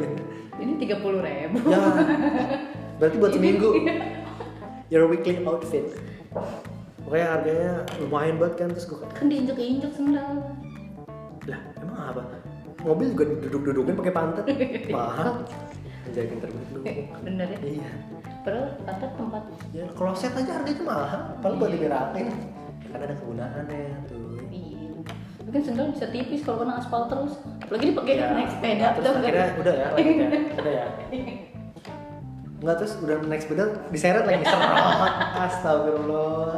[SPEAKER 2] ini tiga puluh ribu.
[SPEAKER 3] Ya. Berarti buat seminggu. Your weekly outfit. Pokoknya harganya lumayan banget kan terus gue kayak,
[SPEAKER 2] Kan diinjek-injek sendal.
[SPEAKER 3] lah emang apa? Mobil juga duduk-dudukin pakai pantat. Mahal. Jaga terbit lu.
[SPEAKER 2] Eh, bener ya?
[SPEAKER 3] Iya.
[SPEAKER 2] Padahal pantat tempat
[SPEAKER 3] Ya kloset aja harganya mahal. Paling buat diberatin. Kan ada kegunaannya tuh.
[SPEAKER 2] Mungkin sendal bisa tipis kalau kena aspal terus. Apalagi dipakai
[SPEAKER 3] Ya,
[SPEAKER 2] naik sepeda
[SPEAKER 3] terus
[SPEAKER 2] tuh.
[SPEAKER 3] akhirnya udah ya, lanjut ya, udah ya. Enggak terus udah naik sepeda diseret lagi serot. Astagfirullah.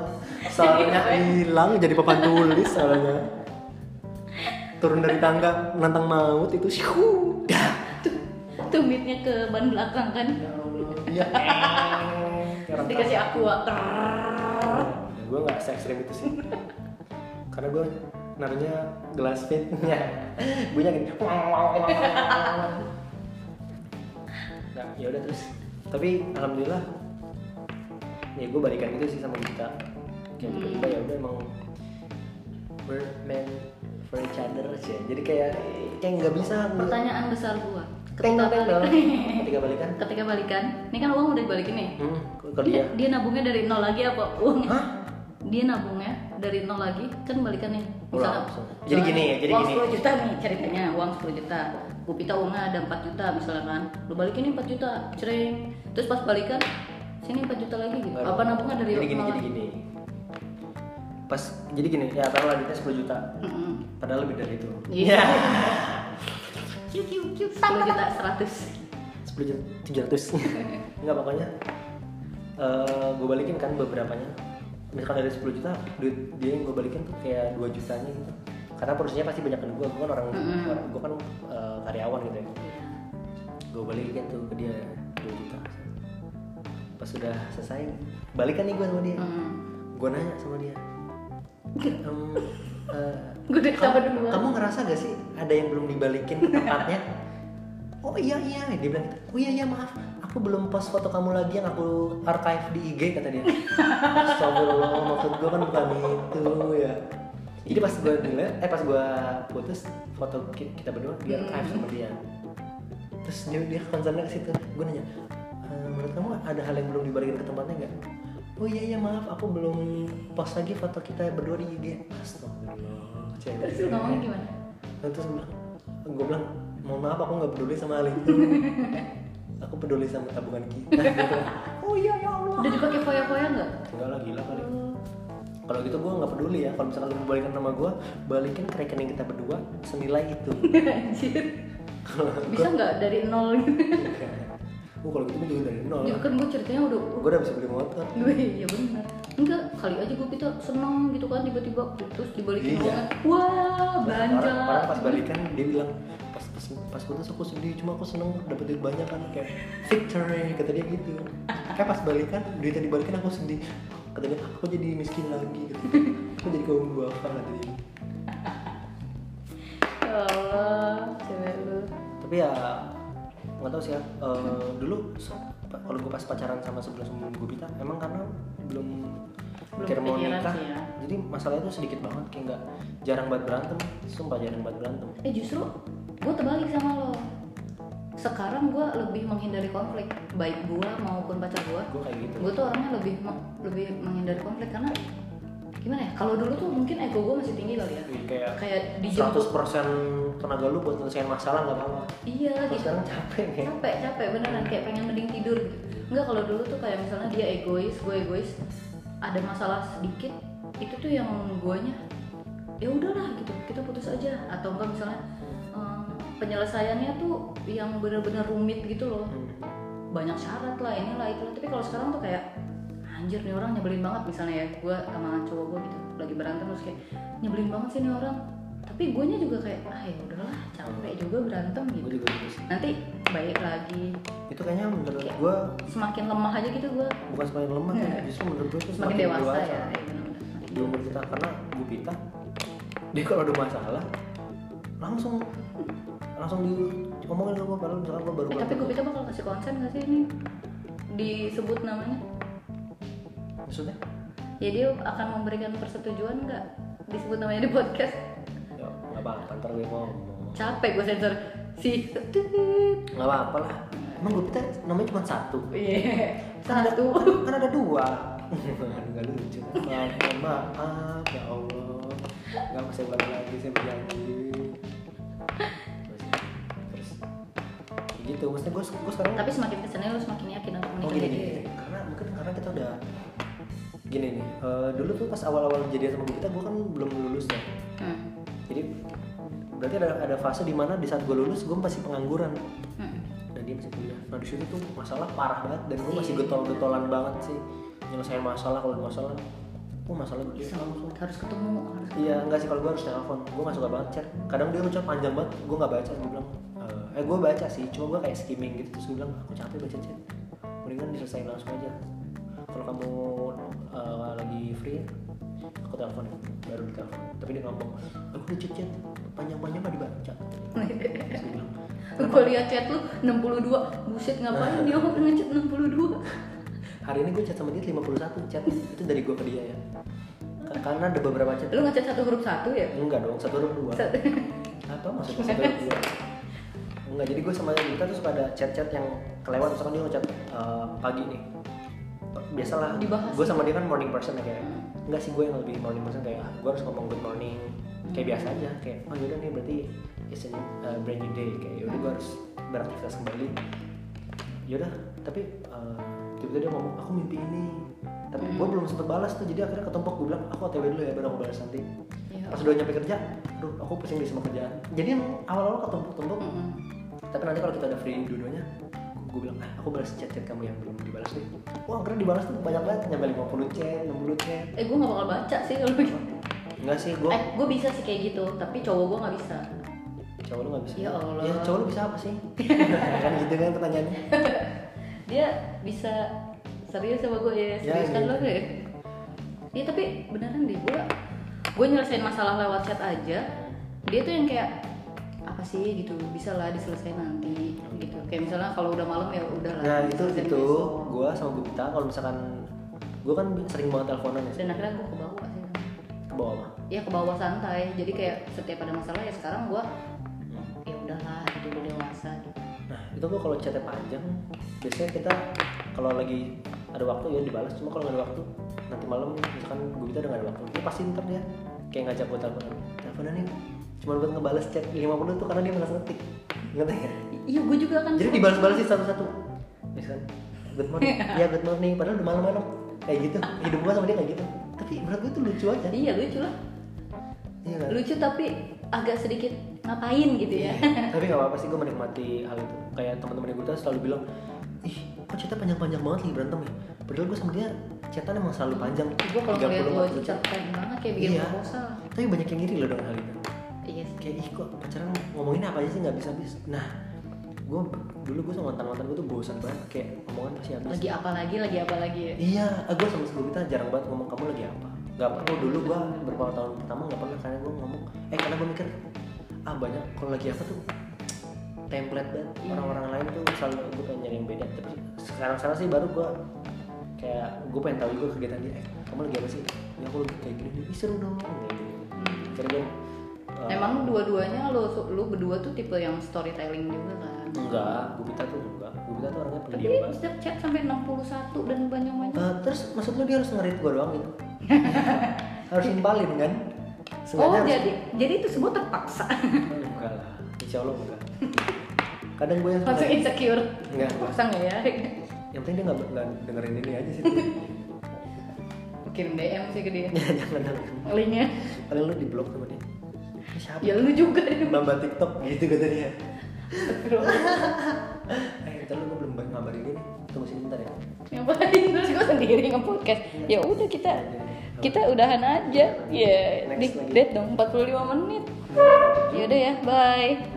[SPEAKER 3] Soalnya hilang jadi papan tulis soalnya. Turun dari tangga nantang maut itu syu. Dah.
[SPEAKER 2] Tuh mitnya ke ban belakang kan.
[SPEAKER 3] Ya Allah. Iya.
[SPEAKER 2] Terus dikasih aqua.
[SPEAKER 3] Gue nggak se ekstrim itu sih. Karena gue naruhnya gelas fitnya. Bunyinya gini. nah, ya udah terus. Tapi alhamdulillah ya gue balikan gitu sih sama kita. Kayak tiba-tiba ya udah emang we're meant for each other sih. Jadi kayak kayak nggak bisa.
[SPEAKER 2] Pertanyaan besar gua.
[SPEAKER 3] Teng
[SPEAKER 2] Ketika
[SPEAKER 3] teng teng.
[SPEAKER 2] balikan,
[SPEAKER 3] Ketika balikan.
[SPEAKER 2] ketika balikan, ini kan uang udah dibalikin nih.
[SPEAKER 3] Hmm, ke dia.
[SPEAKER 2] Dia, dia nabungnya dari nol lagi apa uangnya?
[SPEAKER 3] Hah?
[SPEAKER 2] Dia nabungnya dari nol lagi kan balikan nih.
[SPEAKER 3] Ulang langsung. Jadi gini ya, jadi
[SPEAKER 2] uang
[SPEAKER 3] gini.
[SPEAKER 2] 10 juta nih ceritanya, uang 10 juta. Gupita uangnya ada 4 juta misalnya kan. Lu balikin nih 4 juta, cering. Terus pas balikan sini 4 juta lagi gitu.
[SPEAKER 3] Baru.
[SPEAKER 2] Apa nabungnya dari
[SPEAKER 3] jadi gini
[SPEAKER 2] nol
[SPEAKER 3] jadi
[SPEAKER 2] lagi?
[SPEAKER 3] gini pas jadi gini ya taruh lah duitnya 10 juta
[SPEAKER 2] Mm-mm.
[SPEAKER 3] padahal lebih dari itu
[SPEAKER 2] Iya. Kiu kiu kiu 10 juta 100.
[SPEAKER 3] 10 juta 700 enggak pokoknya eh gue balikin kan beberapanya misalkan dari 10 juta duit dia yang gue balikin tuh kayak 2 jutanya gitu karena porsinya pasti banyak dari gue gue kan orang,
[SPEAKER 2] Mm-mm. Iya.
[SPEAKER 3] orang gue kan eh, karyawan gitu ya gue balikin tuh ke dia 2 juta pas sudah selesai balikan nih gue sama dia
[SPEAKER 2] Hmm.
[SPEAKER 3] gue nanya sama dia "Em, eh,
[SPEAKER 2] Gue udah sama
[SPEAKER 3] kamu
[SPEAKER 2] duluan.
[SPEAKER 3] ngerasa gak sih ada yang belum dibalikin ke tempatnya oh iya iya dia bilang gitu, oh iya iya maaf aku belum post foto kamu lagi yang aku archive di IG kata dia Astagfirullah maksud gue kan bukan itu ya jadi pas gue ngeliat eh pas gue putus foto ki- kita berdua dia archive sama dia terus dia dia concernnya ke situ gue nanya "E, menurut kamu ada hal yang belum dibalikin ke tempatnya nggak oh iya iya maaf aku belum post lagi foto kita berdua di IG Astagfirullah cewek.
[SPEAKER 2] Terus lu ngomong gimana?
[SPEAKER 3] Nah, terus gue bilang, gue bilang, mohon maaf aku nggak peduli sama hal itu. aku peduli sama tabungan kita. gitu. oh iya ya Allah.
[SPEAKER 2] Udah dipakai foya-foya nggak?
[SPEAKER 3] Enggak lah gila kali. Kalau gitu gue nggak peduli ya. Kalau misalkan lu mau balikan nama gue, balikin ke rekening kita berdua senilai itu.
[SPEAKER 2] Anjir. Bisa nggak dari nol gitu?
[SPEAKER 3] Oh Iya kalau gitu gue juga dari nol.
[SPEAKER 2] Juga kan gue ceritanya udah
[SPEAKER 3] Gue udah bisa beli motor.
[SPEAKER 2] gue ya benar. Enggak, kali aja gue kita seneng gitu kan tiba-tiba putus dibalikin
[SPEAKER 3] Iya.
[SPEAKER 2] uangnya. Wah, belanja.
[SPEAKER 3] Orang, orang pas balikan dia bilang pas pas pas putus aku sedih cuma aku seneng dapet duit banyak kan kayak victory kata dia gitu. Kayak pas kan, balikan duitnya dibalikin aku sedih. Kata dia aku jadi miskin lagi gitu. Aku jadi kaum dua kata dia.
[SPEAKER 2] Ya Allah, cewek lu.
[SPEAKER 3] Tapi ya nggak tahu sih ya. Eh, dulu se- pa- kalau gue pas pacaran sama sebelum sebelum gue pita emang karena belum
[SPEAKER 2] Belum
[SPEAKER 3] pikir mau
[SPEAKER 2] kepikiran
[SPEAKER 3] nikah
[SPEAKER 2] sih ya.
[SPEAKER 3] jadi masalah itu sedikit banget kayak nggak jarang banget berantem sumpah jarang banget berantem
[SPEAKER 2] Eh justru gue terbalik sama lo. Sekarang gue lebih menghindari konflik, baik gue maupun pacar gue.
[SPEAKER 3] gue kayak gitu
[SPEAKER 2] gue tuh orangnya lebih me- lebih menghindari konflik karena gimana ya kalau dulu tuh mungkin ego gue masih tinggi kali ya
[SPEAKER 3] kayak
[SPEAKER 2] kayak dijemput
[SPEAKER 3] 100% tenaga lu buat nyelesain masalah nggak apa-apa
[SPEAKER 2] iya
[SPEAKER 3] Terus
[SPEAKER 2] gitu
[SPEAKER 3] sekarang capek nih
[SPEAKER 2] capek capek beneran kayak pengen mending tidur gitu enggak kalau dulu tuh kayak misalnya dia egois gue egois ada masalah sedikit itu tuh yang guanya ya udahlah gitu kita putus aja atau enggak misalnya em, penyelesaiannya tuh yang bener-bener rumit gitu loh
[SPEAKER 3] Hmm,
[SPEAKER 2] banyak syarat lah inilah itulah tapi kalau sekarang tuh kayak anjir nih orang nyebelin banget misalnya ya gue sama cowok gue gitu lagi berantem terus kayak nyebelin banget sih nih orang tapi gue juga kayak ah ya udahlah capek juga berantem gitu
[SPEAKER 3] gue juga gitu sih
[SPEAKER 2] nanti baik lagi
[SPEAKER 3] itu kayaknya menurut gue
[SPEAKER 2] semakin lemah aja gitu gue
[SPEAKER 3] bukan semakin lemah ya. justru menurut gue itu
[SPEAKER 2] Iya. semakin dewasa ya Iya, benar-benar.
[SPEAKER 3] di umur kita karena Bu Pita dia kalau ada masalah langsung langsung diomongin ke gue padahal misalkan gue baru
[SPEAKER 2] eh, tapi gue pikir bakal kasih konsen gak sih ini disebut namanya
[SPEAKER 3] maksudnya
[SPEAKER 2] ya dia akan memberikan persetujuan nggak disebut namanya di podcast
[SPEAKER 3] ya nggak apa-apa ntar gue ngomong
[SPEAKER 2] capek gue sensor si
[SPEAKER 3] nggak apa-apa lah emang Bu Pita namanya cuma satu
[SPEAKER 2] iya
[SPEAKER 3] kan ada,
[SPEAKER 2] satu
[SPEAKER 3] kan- kan ada dua nggak lucu maaf mohon maaf ya allah nggak bisa ulang lagi saya berjanji terus ya gitu maksudnya gue gue sekarang
[SPEAKER 2] tapi semakin kesini lu semakin yakin untuk
[SPEAKER 3] oh
[SPEAKER 2] menikah
[SPEAKER 3] gini,
[SPEAKER 2] jadi
[SPEAKER 3] gini, gini. karena mungkin karena kita udah gini nih eh, dulu tuh pas awal-awal jadian sama kita gue kan belum lulus ya
[SPEAKER 2] Hmm.
[SPEAKER 3] jadi berarti ada ada fase dimana di saat gue lulus gue masih pengangguran
[SPEAKER 2] Hmm.
[SPEAKER 3] dan dia masih kuliah nah di situ tuh masalah parah banget dan gue masih
[SPEAKER 2] Iya.
[SPEAKER 3] getol-getolan banget sih nyelesain masalah kalau ada masalah oh masalah
[SPEAKER 2] Bisa,
[SPEAKER 3] gede
[SPEAKER 2] harus ketemu harus
[SPEAKER 3] iya enggak sih kalau gue harus telepon gue nggak suka banget chat kadang dia ucap panjang banget gue nggak baca gue bilang "Eh, eh gue baca sih cuma gue kayak skimming gitu terus gue bilang aku capek baca chat mendingan diselesain langsung aja kalau kamu eh, lagi free aku telepon baru ditelepon tapi dia ngomong aku udah chat chat panjang-panjang nggak dibaca terus gue bilang
[SPEAKER 2] gue liat chat lu 62 buset ngapain dia ngechat 62
[SPEAKER 3] hari ini gue chat sama dia 51 chat itu dari gue ke dia ya Ka- karena ada beberapa chat eh,
[SPEAKER 2] lu ngechat satu huruf satu ya
[SPEAKER 3] enggak dong satu huruf dua
[SPEAKER 2] Satu-
[SPEAKER 3] apa maksudnya satu huruf dua enggak jadi gue sama kita tuh suka ada chat-chat yang kelewat misalkan dia ngechat eh, pagi nih biasalah
[SPEAKER 2] Dibahas.
[SPEAKER 3] gue sama dia kan morning person ya kayak enggak sih gue yang lebih morning person kayak ah, gue harus ngomong good morning kayak biasa aja kayak oh yaudah nih berarti it's a new- a brand new day kayak yaudah gue harus beraktivitas kembali yaudah tapi eh, tiba-tiba dia ngomong aku mimpi ini tapi gue belum sempet balas tuh jadi akhirnya ketumpuk gue bilang aku otw dulu ya baru aku balas nanti
[SPEAKER 2] Iya.
[SPEAKER 3] pas udah nyampe kerja aduh aku pusing di sama kerjaan jadi yang awal-awal ketumpuk-tumpuk
[SPEAKER 2] Mm-mm.
[SPEAKER 3] tapi nanti kalau kita udah free dua-duanya gue bilang ah aku balas chat-chat kamu yang belum dibalas nih wah keren dibalas tuh banyak banget nyampe 50 chat 60 chat
[SPEAKER 2] eh gue gak bakal baca sih kalau gitu
[SPEAKER 3] enggak sih gue
[SPEAKER 2] eh gue bisa sih kayak gitu tapi cowok gue gak bisa
[SPEAKER 3] cowok lu gak bisa
[SPEAKER 2] Ya Allah.
[SPEAKER 3] ya cowok lu bisa apa sih kan gitu kan pertanyaannya
[SPEAKER 2] dia bisa serius sama gue ya
[SPEAKER 3] Ya,
[SPEAKER 2] serius kan
[SPEAKER 3] gitu.
[SPEAKER 2] lo ya Iya tapi beneran deh gue gue nyelesain masalah lewat chat aja dia tuh yang kayak apa sih gitu bisa lah diselesain nanti gitu kayak misalnya kalau udah malam ya udah lah
[SPEAKER 3] nah itu
[SPEAKER 2] diselesain
[SPEAKER 3] itu
[SPEAKER 2] besok.
[SPEAKER 3] gue sama Gupita kalau misalkan gue kan sering banget teleponan ya
[SPEAKER 2] dan akhirnya gue ke bawah sih
[SPEAKER 3] ke bawah mah
[SPEAKER 2] ya ke bawah santai jadi kayak setiap ada masalah ya sekarang gue ya udahlah gitu udah dewasa gitu
[SPEAKER 3] nah itu gue kalau chatnya panjang biasanya kita kalau lagi ada waktu ya dibalas cuma kalau nggak ada waktu nanti malam misalkan Gupita udah nggak ada waktu dia pasti ntar dia kayak ngajak gue teleponan teleponan nih cuma buat ngebalas chat 50 tuh karena dia merasa ngetik ngetik ya
[SPEAKER 2] iya gue juga kan
[SPEAKER 3] jadi dibalas-balas sih satu-satu misalkan good morning ya good morning padahal udah malam-malam kayak gitu hidup gua sama dia kayak gitu tapi menurut gua itu lucu aja
[SPEAKER 2] iya lucu lah
[SPEAKER 3] iya kan
[SPEAKER 2] lucu tapi agak sedikit ngapain gitu ya
[SPEAKER 3] tapi gak apa-apa sih gua menikmati hal itu kayak teman-teman gua tuh selalu bilang ih kok chatnya panjang-panjang banget nih berantem ya padahal gua sama dia chatan emang selalu panjang
[SPEAKER 2] gue kalau ngeliat
[SPEAKER 3] 30,
[SPEAKER 2] lo
[SPEAKER 3] 40
[SPEAKER 2] cerita
[SPEAKER 3] chat.
[SPEAKER 2] keren banget kayak bikin
[SPEAKER 3] Iya.
[SPEAKER 2] proposal
[SPEAKER 3] tapi banyak yang ngiri loh dengan hal itu
[SPEAKER 2] iya sih
[SPEAKER 3] kayak ih kok pacaran ngomongin apa aja sih nggak bisa habis nah gua dulu gua sama mantan mantan gua tuh bosan banget kayak omongan pasti habis
[SPEAKER 2] lagi apa lagi lagi apa lagi ya
[SPEAKER 3] Iya, gue sama sebelum kita jarang banget ngomong kamu lagi apa. Gak perlu dulu gue beberapa tahun pertama gak pernah karena gue ngomong. Eh karena gue mikir ah banyak kalau lagi apa tuh template banget
[SPEAKER 2] Iya.
[SPEAKER 3] orang-orang lain tuh selalu gue pengen nyari yang beda. Tapi sekarang sekarang sih baru gue kayak gue pengen tahu juga kegiatan dia. Eh kamu lagi apa sih? Ya aku lagi kayak gini. Ih seru dong. Kayak gini. Akhirnya eh, gue
[SPEAKER 2] Nah, Hmm. Emang dua-duanya lo lu berdua tuh tipe yang storytelling juga kan?
[SPEAKER 3] enggak, Gupita tuh enggak. Gupita tuh orangnya
[SPEAKER 2] Tapi
[SPEAKER 3] pendiam banget.
[SPEAKER 2] setiap chat sampai 61 dan banyak-banyak.
[SPEAKER 3] Eh, terus maksud lu dia harus ngerit gue doang gitu harus nimpalin kan
[SPEAKER 2] Oh,
[SPEAKER 3] Sengaja harus-
[SPEAKER 2] jadi jadi itu semua terpaksa.
[SPEAKER 3] Eh, enggak lah insya Allah enggak kadang gue yang suka
[SPEAKER 2] Langsung insecure.
[SPEAKER 3] Enggak, enggak.
[SPEAKER 2] Terpaksa nggak ya?
[SPEAKER 3] yang penting dia nggak nggak dengerin ini aja sih
[SPEAKER 2] Kirim DM sih ke dia.
[SPEAKER 3] jangan jangan
[SPEAKER 2] Linknya.
[SPEAKER 3] paling lu di blok sama dia Ini siapa
[SPEAKER 2] Ya lu juga deh.
[SPEAKER 3] mbak mbak tiktok gitu kata dia
[SPEAKER 2] Astagfirullah.
[SPEAKER 3] eh ntar lu gue belum banyak ngabarin ini tunggu sini bentar ya
[SPEAKER 2] Ngapain terus gue sendiri nge-podcast. Ya udah kita kita udahan aja. Ya,
[SPEAKER 3] Next
[SPEAKER 2] di
[SPEAKER 3] lagi.
[SPEAKER 2] date dong 45 menit. Ya udah ya, bye.